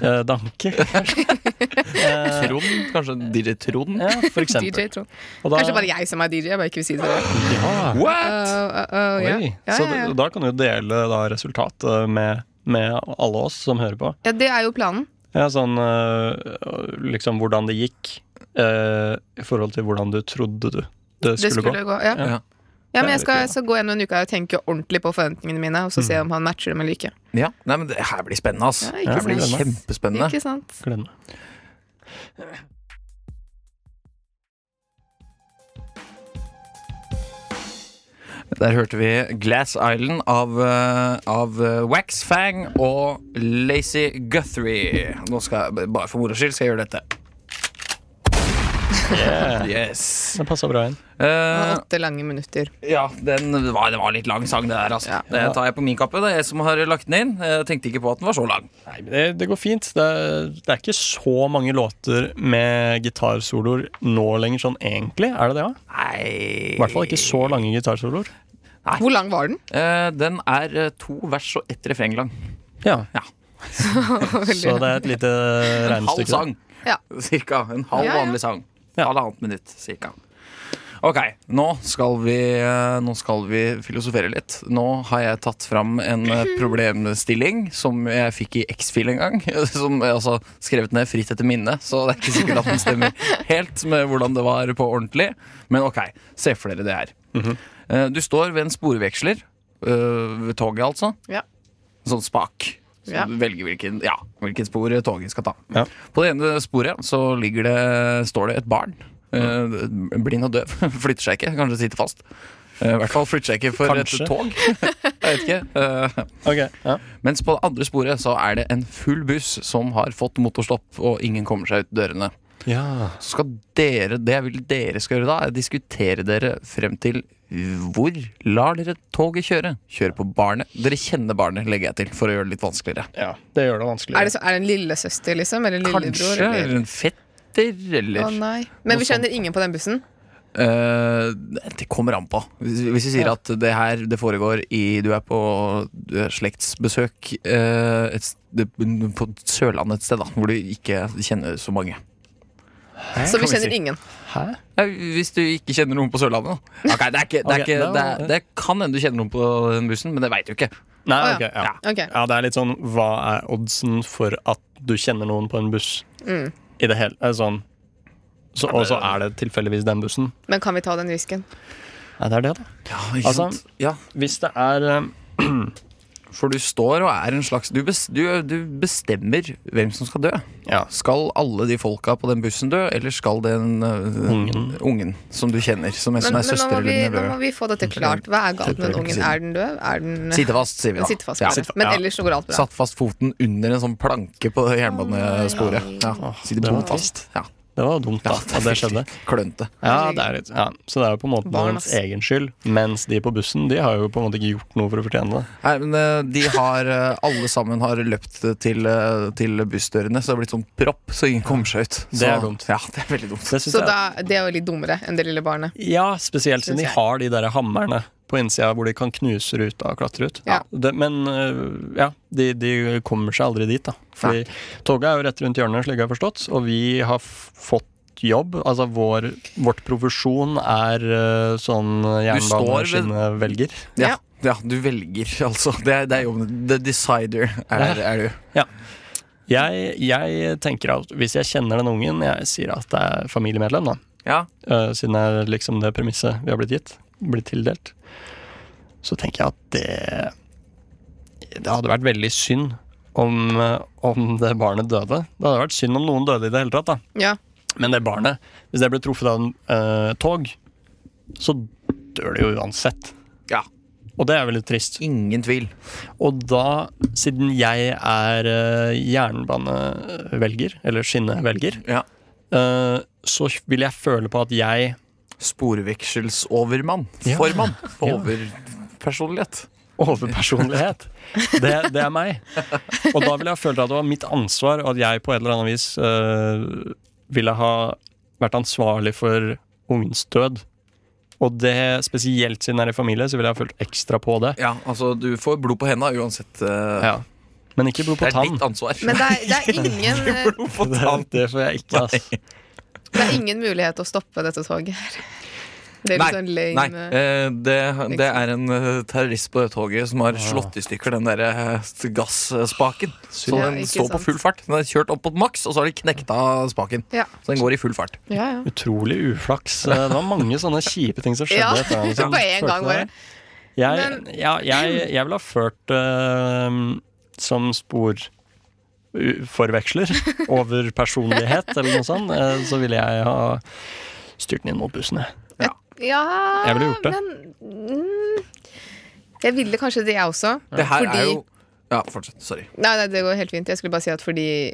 A: øh, Danke. kanskje. Eh,
B: Trond? Kanskje DJ Trond?
A: ja, for
C: DJ
A: eksempel.
C: Trond.
A: Og da-
C: Kanskje bare jeg som er DJ. Jeg bare ikke vil si det. Uh,
A: Ja.
B: What?!
C: uh, ja.
A: Oi.
C: Ja,
A: Så
C: ja, ja.
A: d- da kan du jo dele da, resultatet med, med alle oss som hører på.
C: ja, det er jo planen.
A: Ja, sånn øh, liksom hvordan det gikk øh, i forhold til hvordan du trodde du det
C: Det
A: skulle, gå.
C: skulle gå. Ja.
B: Ja.
C: Ja,
A: Det
C: men
A: er
C: jeg skal,
A: litt Mm. gøy,
C: jeg skal gå gjennom en uke her og tenke ordentlig på forventningene mine. Og så se om han matcher dem eller ikke.
B: Ja. Nei, men det her blir spennende, ass.
C: Ja,
B: Det
C: ikke
B: her blir
A: sant?
B: kjempespennende.
C: Ikke sant?
A: Gleder meg.
B: Der hørte vi Glass Island av, eh, av eh, Wax Fang og Lacey Guthrie. Nå skal jeg bare for moro skyld skal jeg gjøre dette. Yes.
A: Det passa bra inn.
B: Eh,
C: Åtte lange minutter.
B: ja, den var, det var litt lang sang, det der. Altså. Det tar jeg på min kappe. Det er jeg som har lagt den inn. Jeg tenkte ikke på at den var så lang.
A: Nei, men det, det går fint. Det, er- det er ikke så mange låter med gitarsoloer nå lenger, sånn egentlig. Er det det, da?
B: Nei
A: I hvert fall ikke så lange gitarsoloer.
C: Hvor lang var den?
B: Eh, Den er eh, to vers og ett refreng lang.
A: Ja.
B: Ja.
A: Så det er et lite
B: En halv
A: regnestykke.
B: sang,
C: Ja.
B: cirka. En halv
C: Ja, ja.
B: vanlig sang.
A: Ja.
B: Halvannet minutt, cirka. Ok, nå skal, vi, eh, nå skal vi filosofere litt. Nå har jeg tatt fram en eh, problemstilling som jeg fikk i X-Fil en gang. Som jeg altså skrevet ned fritt etter minne, så det er ikke sikkert at den stemmer helt med hvordan det var på ordentlig. Men ok, se for dere det her. Eh, Du står ved en sporveksler, eh, ved toget altså
C: Ja.
B: sånn spak. Så
C: Ja.
B: du velger hvilken, ja, hvilken spor toget skal ta.
A: Ja.
B: På det ene sporet så ligger det, står det et barn. eh, blind og døv. Flytter seg ikke, kanskje sitter fast. Eh, I hvert fall flytter seg ikke for
A: Kanskje.
B: et tog. Jeg vet ikke. eh,
A: Ok, ja.
B: mens på det andre sporet så er det en full buss som har fått motorstopp, og ingen kommer seg ut dørene.
A: ja.
B: Så skal dere, det jeg vil dere skal gjøre da, er å diskutere dere frem til hvor lar dere toget kjøre? Kjøre på barnet. Dere kjenner barnet, legger jeg til, for å gjøre det litt vanskeligere.
A: Ja, det gjør det vanskelig.
C: Er det, så, er det en lillesøster, liksom? Eller en lillebror?
B: Kanskje
C: eller?
B: en fetter, eller
C: Å nei. Men
B: Noe
C: vi
B: sånt.
C: kjenner ingen på den bussen.
B: Eh, Det kommer an på. Hvis hvis vi sier
A: Ja.
B: at det her det foregår i Du er på du er slektsbesøk eh, et, s- det- på Sørlandet et sted, da, hvor du ikke kjenner så mange.
C: Så
A: kan
C: vi
A: vi
C: kjenner
A: si.
C: ingen.
A: Hæ?
B: Nei, Hvis du ikke kjenner noen på Sørlandet, da. Ok, det, er ikke, det, er
A: Ok,
B: ikke,
A: da-
B: det, er, det kan hende du kjenner noen på den bussen, men det veit du ikke.
A: Nei,
C: Å,
A: ok, ja.
B: Ja.
C: Ok.
A: Ja, det er litt sånn Hva er oddsen for at du kjenner noen på en buss?
C: Mm.
A: I det hele eh, sånn. så, Og så er det tilfeldigvis den bussen?
C: Men kan vi ta den risken?
A: Ja, det er det, da.
B: Ja, ikke
A: Altså-
B: sant? Ja,
A: Hvis det er eh,
B: for du står og er en slags du, bes, du, du bestemmer hvem som skal dø.
A: Ja.
B: Skal alle de folka på den bussen dø, eller skal den øh,
A: Ungen.
B: ungen som du kjenner, som, en- som er
C: Men, men nå, må
B: søster
C: vi,
B: eller
C: nå må
B: nevø?
C: vi få dette klart. Hva er galt med den ungen? Er den døv? Er den
B: Sitte fast, sier vi
C: Den
B: da.
C: sitter fast.
B: ja.
C: bare.
A: Sitter fa-
C: Men
A: ja.
C: ellers så går alt bra.
B: Satt fast foten under en sånn planke på jernbanesporet. Ja. Sitter
A: det var
B: bomt fast. Ja.
A: Det var dumt, da. at det skjedde.
B: Klønte.
A: Ja, det er litt, ja. Så det er jo på en måte
C: Barn,
A: deres
C: ass.
A: egen skyld. Mens de på bussen de har jo på en måte ikke gjort noe for å fortjene det.
B: Nei, men eh, de har eh, Alle sammen har løpt til, eh, til bussdørene, så det har blitt sånn propp, så ingen kommer seg ut.
A: Det er
B: Så-
A: dumt.
B: Ja, det er veldig dumt.
A: Det synes
C: Så
A: jeg-
C: da, det er jo litt dummere enn det lille barnet.
A: Ja, spesielt siden
C: Synes
A: de
C: jeg.
A: har de der hammerne på innsida hvor de kan knuse ruta og klatre ut.
C: Ja.
A: Det, men øh, ja, de, de kommer seg aldri dit, da. Fordi toget er jo rett rundt hjørnet, slik jeg har forstått, og vi har f fått jobb. Altså vår, vårt profesjon er øh, sånn
B: står ved-
A: jernbaneskinnevelger.
B: Ja, ja du velger, altså. Det er, det er jobben din. The decider er, er du.
A: Jeg, jeg tenker at hvis jeg kjenner den ungen, jeg sier at det er familiemedlem, da.
B: Ja.
A: øh, siden det er liksom det premisset vi har blitt gitt, blitt tildelt, så tenker jeg at det Det hadde vært veldig synd om, øh, om det barnet døde. Det hadde vært synd om noen døde i det hele tatt, da.
C: Ja.
A: Men det barnet, hvis det ble truffet av en øh, tog, så dør det jo uansett.
B: ja.
A: Og det er veldig trist.
B: Ingen tvil.
A: Og da, siden jeg er øh, jernbanevelger, eller skinnevelger,
B: Ja.
A: øh, så vil jeg føle på at jeg
B: Sporvekselsovermann.
A: Ja.
B: Formann.
A: Ja.
B: Overpersonlighet.
A: Overpersonlighet. Det, det er meg. Og da ville jeg følt at det var mitt ansvar, og at jeg på et eller annet vis øh, ville ha vært ansvarlig for ungens død. Og det, spesielt siden jeg er i familie, så ville jeg ha følt ekstra på det.
B: Ja, altså, du får blod på henda uansett. eh,
A: Ja. Men ikke blod på
B: Det er
A: tann.
B: ditt ansvar.
C: Men det er, det, er ingen, eh,
B: Blod på
A: Det,
B: tann.
A: det får jeg ikke, ass.
C: det er ingen mulighet å stoppe dette toget her. Det er litt sånn
B: Nei,
C: lame
B: nei. eh, Det, det er en eh, terrorist på det toget som har
C: Ah.
B: slått i stykker den der eh, gasspaken. Så
C: Ja,
B: den
C: ikke
B: står på
C: sant.
B: full fart. Den er kjørt opp mot maks, og så har de knekt av spaken.
C: Ja.
B: Så den går i full fart.
C: Ja, ja.
A: Utrolig uflaks. Eh, Det var mange sånne kjipe ting som
C: Ja,
A: skjedde. etter hverandre som
C: på en
A: førte
C: gang
A: til
C: bare.
A: det. Jeg,
C: Men-
A: ja, jeg, jeg ville ha ført eh, som sporforveksler over personlighet eller noe sånt. eh, så ville jeg ha styrt den inn mot bussene.
C: ja
A: Jeg ville gjort det.
C: Men mm, jeg ville kanskje det, jeg også.
B: Det her
C: Fordi-
B: er jo Ja, fortsett. Sorry.
C: Nei, nei, det går helt fint. Jeg skulle bare si at fordi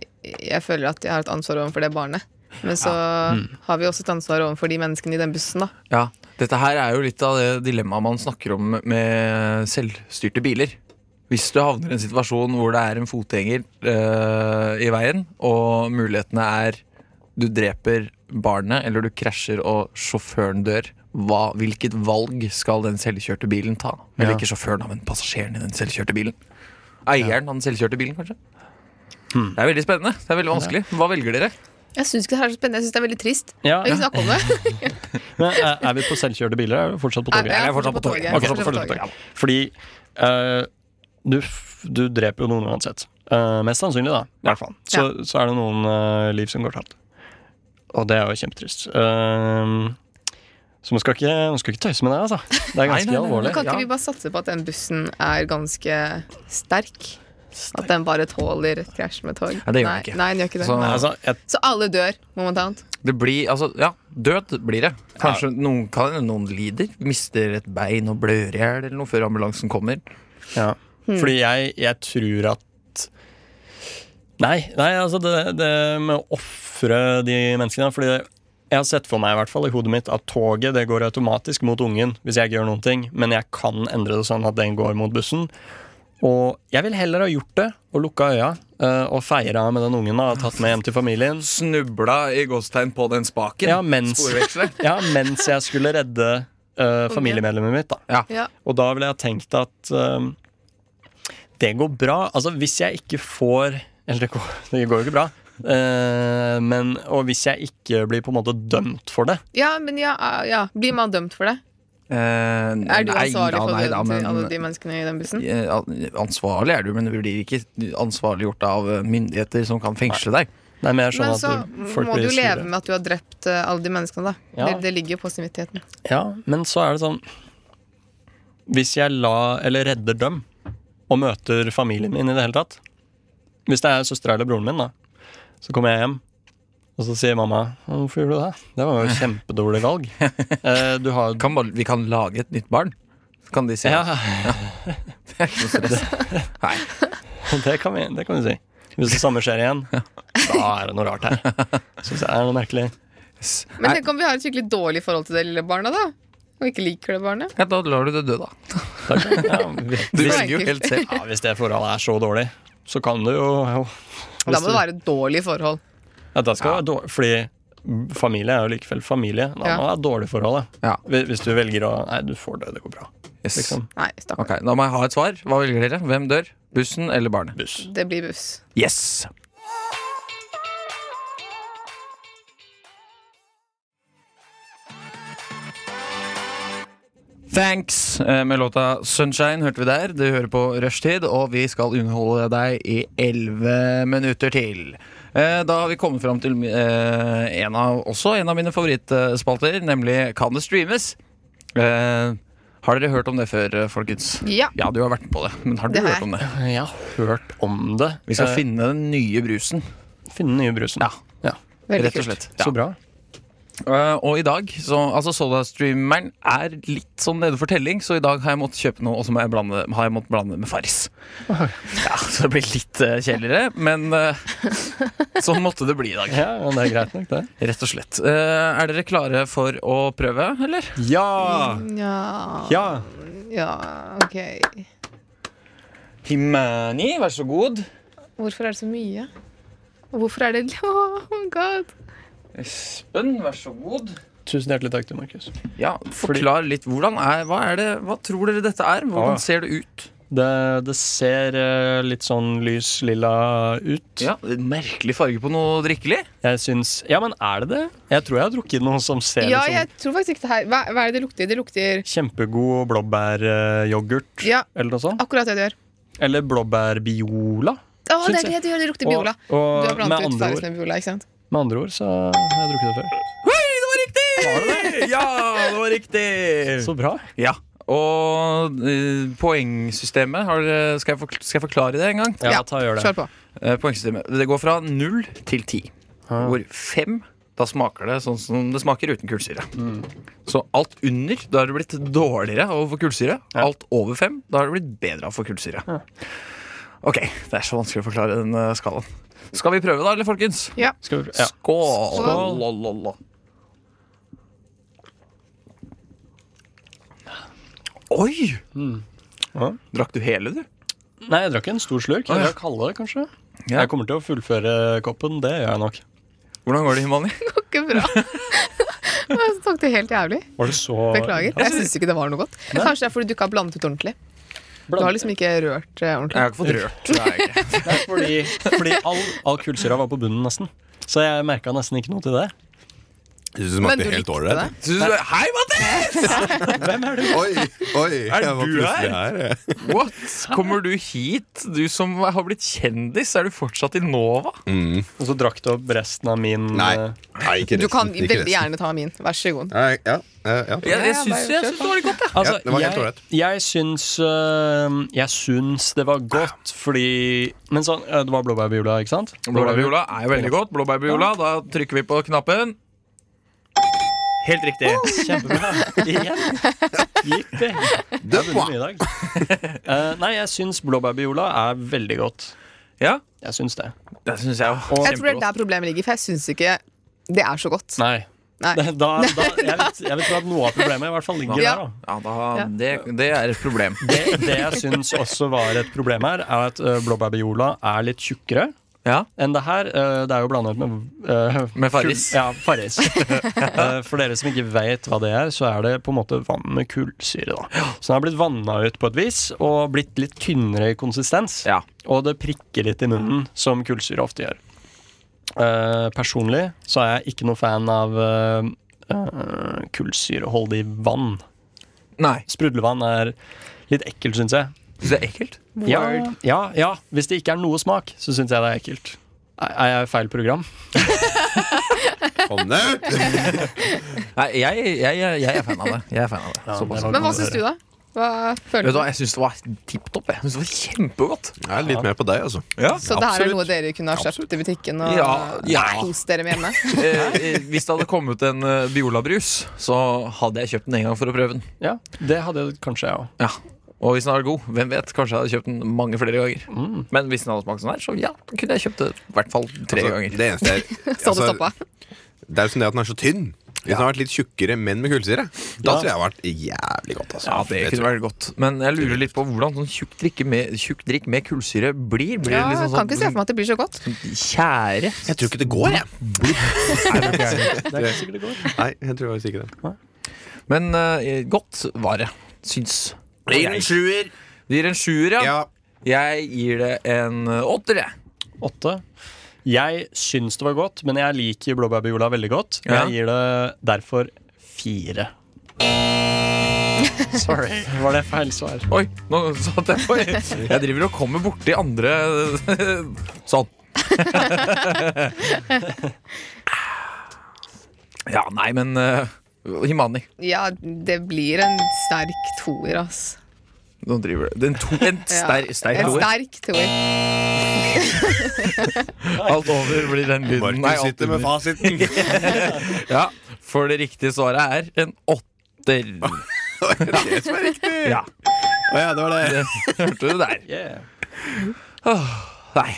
C: jeg føler at jeg har et ansvar overfor det barnet. Men så har vi også et ansvar overfor de menneskene i den bussen, da.
B: Ja, Dette her er jo litt av det dilemmaet man snakker om med selvstyrte biler. Hvis du havner i en situasjon hvor det er en fotgjenger eh, i veien, og mulighetene er du dreper barnet, eller du krasjer og sjåføren dør, hva, hvilket valg skal den selvkjørte bilen ta? Eller
A: Ja.
B: ikke sjåføren, da, men passasjeren i den selvkjørte bilen. Eieren av den selvkjørte bilen, kanskje. Det er veldig spennende. Det er veldig vanskelig. Hva velger dere?
C: Jeg syns ikke det her er så spennende. Jeg syns det er veldig trist.
A: Ja,
C: Jeg vil ikke
A: ja.
C: snakke om det.
A: Men eh, er, er vi på selvkjørte biler? eller Er vi fortsatt på
C: Nei,
A: toget?
C: jeg er
B: fortsatt på toget.
A: Ok,
C: Jeg er fortsatt på
A: fortsatt på
C: toget.
A: toget. Fordi eh, du, f- du dreper jo noen uansett. Eh, mest sannsynlig, da. I hvert fall. Så, så er det noen eh, liv som går tapt. Og det er jo kjempetrist. Eh, så man skal, ikke, man skal ikke tøyse med det, altså. Det er
B: Nei,
A: ganske
B: nei, nei, nei.
A: alvorlig.
C: Men kan
B: Ja.
C: ikke vi bare satse på at den bussen er ganske sterk? At den bare tåler et krasj med tog?
B: Ja, det gjør den
C: nei,
B: ikke.
C: Nei, den gjør ikke det.
B: Så-
C: Nei.
A: Altså, jeg,
C: Så alle dør momentant.
B: Det blir, altså, ja, død blir det. Kanskje noen, kan, noen lider, mister et bein og blør i hjel eller noe før ambulansen kommer.
A: ja. Fordi jeg, jeg tror at Nei, nei altså det, det med å ofre de menneskene Fordi jeg har sett for meg i hvert fall i hodet mitt at toget det går automatisk mot ungen hvis jeg ikke gjør noen ting, men jeg kan endre det sånn at den går mot bussen. Og jeg vil heller ha gjort det og lukka øya eh, og feira med den ungen da, og tatt med hjem til familien.
B: Snubla i gåstegn på den spaken.
A: Ja, mens,
B: Sporvekselet.
A: ja, mens jeg skulle redde eh, familiemedlemmet mitt, da.
C: Ja.
A: Og da ville jeg tenkt at um, det går bra. Altså, hvis jeg ikke får Eller det går, det går jo ikke bra. Eh, men, og hvis jeg ikke blir på en måte dømt for det
C: ja, men ja, ja. Blir man dømt for det?
B: Eh,
C: Er du
B: nei
C: ansvarlig
B: da,
C: for
B: nei
C: det
B: da, men-
C: til alle de menneskene i den bussen?
B: Eh, an- Ansvarlig er du, men du blir ikke ansvarliggjort av eh, myndigheter som kan fengsle deg.
A: Nei, men jeg
C: Men
A: skjønner
C: så
A: Sånn at du- folk
C: må du
A: blir
C: jo leve
A: sure.
C: med at du har drept eh, alle de menneskene, da.
A: Ja.
C: Det, det ligger jo på samvittigheten.
A: Ja, men så er det sånn Hvis jeg la, eller redder dem og møter familien min i det hele tatt Hvis det er søstera eller broren min, da, så kommer jeg hjem, og så sier mamma 'Hvorfor gjorde du det?' Det var jo et kjempedårlig valg. Eh, du har
B: Kan bare, vi kan lage et nytt barn. Så kan de si
A: ja,
B: det er ikke noe stress. Nei.
A: Det kan, vi, det kan vi si. Hvis det samme skjer igjen, da er det noe rart her. Synes jeg er noe merkelig.
B: S-
C: Men
B: nei.
C: tenk om vi har et skikkelig dårlig forhold til det lille barnet, da. Og ikke liker det barnet.
B: Ja, da lar du det dø, da.
A: Takk. Ja, hvis,
B: Du
C: Hvis-
B: velger jo helt selv.
A: ja, hvis det forholdet er så dårlig, så kan du jo
C: Da må det være et dårlig forhold.
A: ja, da skal det være dårlig, Fordi familie er jo likevel familie. Da
C: Ja.
A: må det være dårlig forhold. da.
B: Ja.
A: Hvis- Hvis du velger å Nei, du får det, det går bra.
B: Yes.
A: Liksom.
C: Nei, stakkar.
B: Ok, Da må jeg ha et svar. Hva velger dere? Hvem dør? Bussen eller barnet?
A: Buss.
C: Det blir buss.
B: Yes! Thanks eh, med låta Sunshine hørte vi der. Du hører på Rushtid, og vi skal underholde deg i 11 minutter til. Eh, Da har vi kommet fram til eh, en av, også en av mine favorittspalter, nemlig Kan det streames? Eh, Har dere hørt om det før, eh, folkens?
C: Ja.
B: Ja, du har vært på det, men har du
C: Det har
B: hørt om det?
A: Jeg har hørt om det.
B: Vi skal
A: Eh,
B: finne den nye brusen.
A: finne den nye brusen.
B: Ja.
C: Veldig
B: Rett og
C: kult.
B: slett.
A: Så bra.
B: Eh, og i dag, så, altså Soda-streameren er litt sånn nede for telling, så i dag har jeg måttet kjøpe noe, og så må jeg blande, har jeg måttet blande det med Farris. Ja, så det blir litt eh, kjedeligere, men eh, sånn måtte det bli i dag.
A: Ja, men Det er greit nok, det.
B: Rett og slett. Eh, er dere klare for å prøve, eller?
A: Ja!
C: Ja,
A: Ja!
C: ja, ok.
B: Himani, vær så god.
C: Hvorfor er det så mye? Og hvorfor er det Oh my god.
B: Espen, vær så god.
A: Tusen hjertelig takk til Markus.
B: Ja, Forklar litt. Hvordan er, hva, er det, hva tror dere dette er?
A: Ah, ja.
B: Hvordan ser det ut?
A: Det, det ser eh, litt sånn lys lilla ut.
B: Ja, Merkelig farge på noe drikkelig.
A: Jeg syns Ja, men er det det? Jeg tror jeg har drukket noe som ser
C: Ja, jeg
A: ut
C: tror faktisk ikke det her Hva, hva er det det lukter? Det lukter
A: som kjempegod blåbæryoghurt
C: Ja.
A: eller noe sånt.
C: akkurat det det gjør.
A: Eller blåbærbiola.
C: Å, det
A: Syns jeg.
C: er det det gjør! Det lukter Biola.
A: Og, og
C: Du har
A: med,
C: blandet ut
A: andre ord,
C: farges med Biola, ikke sant?
A: med andre ord så har jeg drukket det før.
B: Ja, det var riktig!
A: Så bra.
B: Ja, og eh, poengsystemet har, dere- skal, jeg forkl- skal jeg forklare det en gang?
A: Ja,
C: Ja,
A: ta og gjør det.
C: Kjør på.
B: Eh, poengsystemet Det går fra 0 til 10 Hvor 5, da smaker det sånn som det smaker uten kullsyre Så alt under, da har det blitt dårligere av å få kullsyre Alt over 5, da har det blitt bedre av å få kullsyre Ok, det er så vanskelig å forklare den eh, skalaen Skal vi prøve da, eller folkens?
C: Ja.
A: Skal vi, ja.
B: Skål!
C: Skål.
B: Lalalala. Oi!
A: Ja.
B: Drakk du hele, du?
A: Nei, jeg drakk en stor slurk.
B: Å,
A: Jeg
B: ja.
A: drakk halve, kanskje.
B: Ja.
A: Jeg kommer til å fullføre koppen. Det gjør jeg nok.
B: Hvordan går det, Himani?
C: Det går ikke bra. Jeg smakte helt jævlig.
A: Var det så
C: Beklager. Jeg syns ikke det var noe godt. Kanskje det er fordi du ikke har blandet ut ordentlig. Du har liksom ikke rørt eh,
B: Jeg
C: ordentlig.
B: har ikke fått rørt. Det er jeg ikke.
A: Nei, fordi fordi all, all kullsyra var på bunnen, nesten. Så jeg merka nesten ikke noe til det.
E: Jeg synes det
C: Men du
E: smakte helt
C: likte
E: ålreit.
C: det.
B: Synes du, hei, Mathis!
A: Hvem er du?
E: Oi, oi,
B: Er
E: jeg var
B: du
E: plutselig her. jeg.
B: What? Kommer du hit? Du som har blitt kjendis, er du fortsatt i Nova?
E: Mm.
A: Og så drakk du opp resten av min
E: Nei.
A: eh,
E: Nei, ikke resten.
C: Du kan
E: ikke
C: veldig
E: resten.
C: gjerne ta min. Vær så god.
E: Nei, ja, eh, ja.
B: Jeg, jeg
C: Ja,
B: syns
C: bare
B: jeg
C: kjør
B: syns det var litt godt, jeg.
A: Altså,
E: Ja, det var helt
A: jeg,
E: ålreit.
A: jeg syns øh, Jeg syns det var godt fordi Men sånn, øh, det var blåbærbiola, ikke sant?
B: Blåbærbiola er jo veldig godt. Blåbærbiola, da trykker vi på knappen. Helt riktig.
A: Kjempebra. Igjen. Gikk det. Jeg har vunnet mye i dag. Eh, nei, jeg syns blåbærbiola er veldig godt.
B: Ja,
A: Jeg syns det.
B: det syns jeg jo.
C: Jeg tror det er der problemet ligger, for jeg syns ikke det er så godt.
A: Nei.
C: Nei.
A: Da, da, jeg, vet, jeg vet at noe av problemet i hvert fall ligger
C: Ja.
A: der. da
B: Ja, da,
C: Ja.
B: det, det er et problem.
A: Det, det jeg syns også var et problem her, er at øh, blåbærbiola er litt tjukkere
B: Ja,
A: enn det her. Øh, det er jo blandet med øh,
B: Med Farris.
A: kull- Ja, Farris. Eh, For dere som ikke vet hva det er, så er det på en måte vann med kullsyre. da Så den har blitt vanna ut på et vis og blitt litt tynnere i konsistens.
B: Ja.
A: Og det prikker litt i munnen, som kullsyre ofte gjør. Eh, personlig så er jeg ikke noe fan av uh, kullsyreholdig vann.
B: Nei.
A: Sprudlevann er litt ekkelt, syns jeg.
B: Syns det er ekkelt?
A: Ja, ja, ja, hvis det ikke er noe smak, så syns jeg det er ekkelt. Er er jeg i feil program?
E: Kom deg ut!
B: Nei, jeg, jeg, jeg, jeg er fan av det. Jeg er fan av det. Såpass.
A: det var-
C: Men hva syns du, da? Hva
B: Vet
C: føler
B: du
C: du?
B: hva, jeg syns det var tipp topp. Jeg synes det var kjempegodt.
E: Jeg er litt mer på deg, altså.
C: Så det her er
E: Absolutt.
C: noe dere kunne ha kjøpt i butikken og
B: Ja, ja.
C: kost dere med hjemme?
B: Eh, eh, hvis det hadde kommet en eh, Biola-brus, så hadde jeg kjøpt den en gang for å prøve den.
A: Ja, det hadde kanskje jeg òg.
B: Ja. Og hvis den hadde vært god, hvem vet, kanskje jeg hadde kjøpt den mange flere ganger. Men hvis den hadde smakt sånn her, så ja, da kunne jeg kjøpt det i hvert fall tre
E: Altså,
B: ganger.
E: Det eneste
C: Så hadde
E: er
C: du
E: altså,
C: stoppa.
E: Det er jo som det at den er så tynn. Hvis den har vært litt tjukkere, men med kullsyre, da
A: Ja.
E: tror jeg det har vært jævlig godt. Altså.
B: Ja, det
E: Jeg
B: kunne
E: tror-
B: vært godt. Men jeg lurer litt på hvordan sånn tjukk drikk med, tjukk drikk med kullsyre blir. Blir det
C: Ja,
B: liksom
C: kan ikke se for
B: sånn
C: meg at det blir så godt.
B: tjære?
E: Jeg tror ikke det går, jeg.
A: Det er ikke sikkert det går.
E: Nei, jeg tror faktisk ikke det.
B: Men eh, godt var det, syns
E: Blir en sjuer.
B: Det gir en sjuer, ja.
E: Ja.
B: Jeg gir det en eh, åtter, jeg.
A: Åtte. Jeg syns det var godt, men jeg liker blåbærbiola veldig godt.
B: Ja.
A: Jeg gir det derfor fire. Sorry, var det feil svar?
B: Oi, nå satt jeg på Jeg driver og kommer borti andre Sånn. Ja, nei, men eh, Himani.
C: Ja, det blir en sterk toer, ass.
B: Nå driver du En, to, en
C: Ja.
B: ster, sterk
C: En
B: ord.
C: sterk toer.
B: Alt over blir den lyden. Nei,
E: Markus
B: alt
E: sitter med
B: under.
E: fasiten.
B: Ja, for det riktige svaret er en åtter.
E: Det er det som er riktig.
B: Ja,
E: Å ja, det var det.
B: det hørte du der.
A: Yeah.
B: Nei.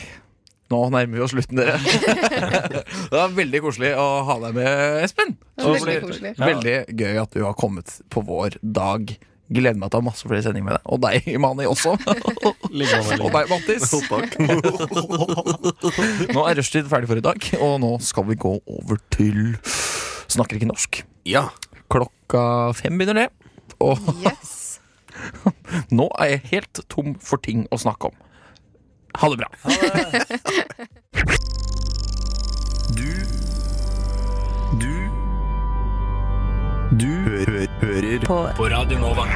B: Nå nærmer vi oss slutten, dere. Det var veldig koselig å ha deg med, Espen.
C: Veldig
B: Og det-
C: koselig.
B: veldig gøy at du har kommet på vår dag. Gleder meg til å ha masse flere sendinger med deg. Og deg, Imani, også.
A: Ligger over,
B: Og
A: ligger.
B: deg, Mattis. Nå er rushtid ferdig for i dag, og nå skal vi gå over til Snakker ikke norsk.
E: Ja.
B: Klokka fem begynner det. Og
C: Yes.
B: Nå er jeg helt tom for ting å snakke om. Ha det bra.
E: Du Du Du hø hø hører
G: På
E: på Radio Nova.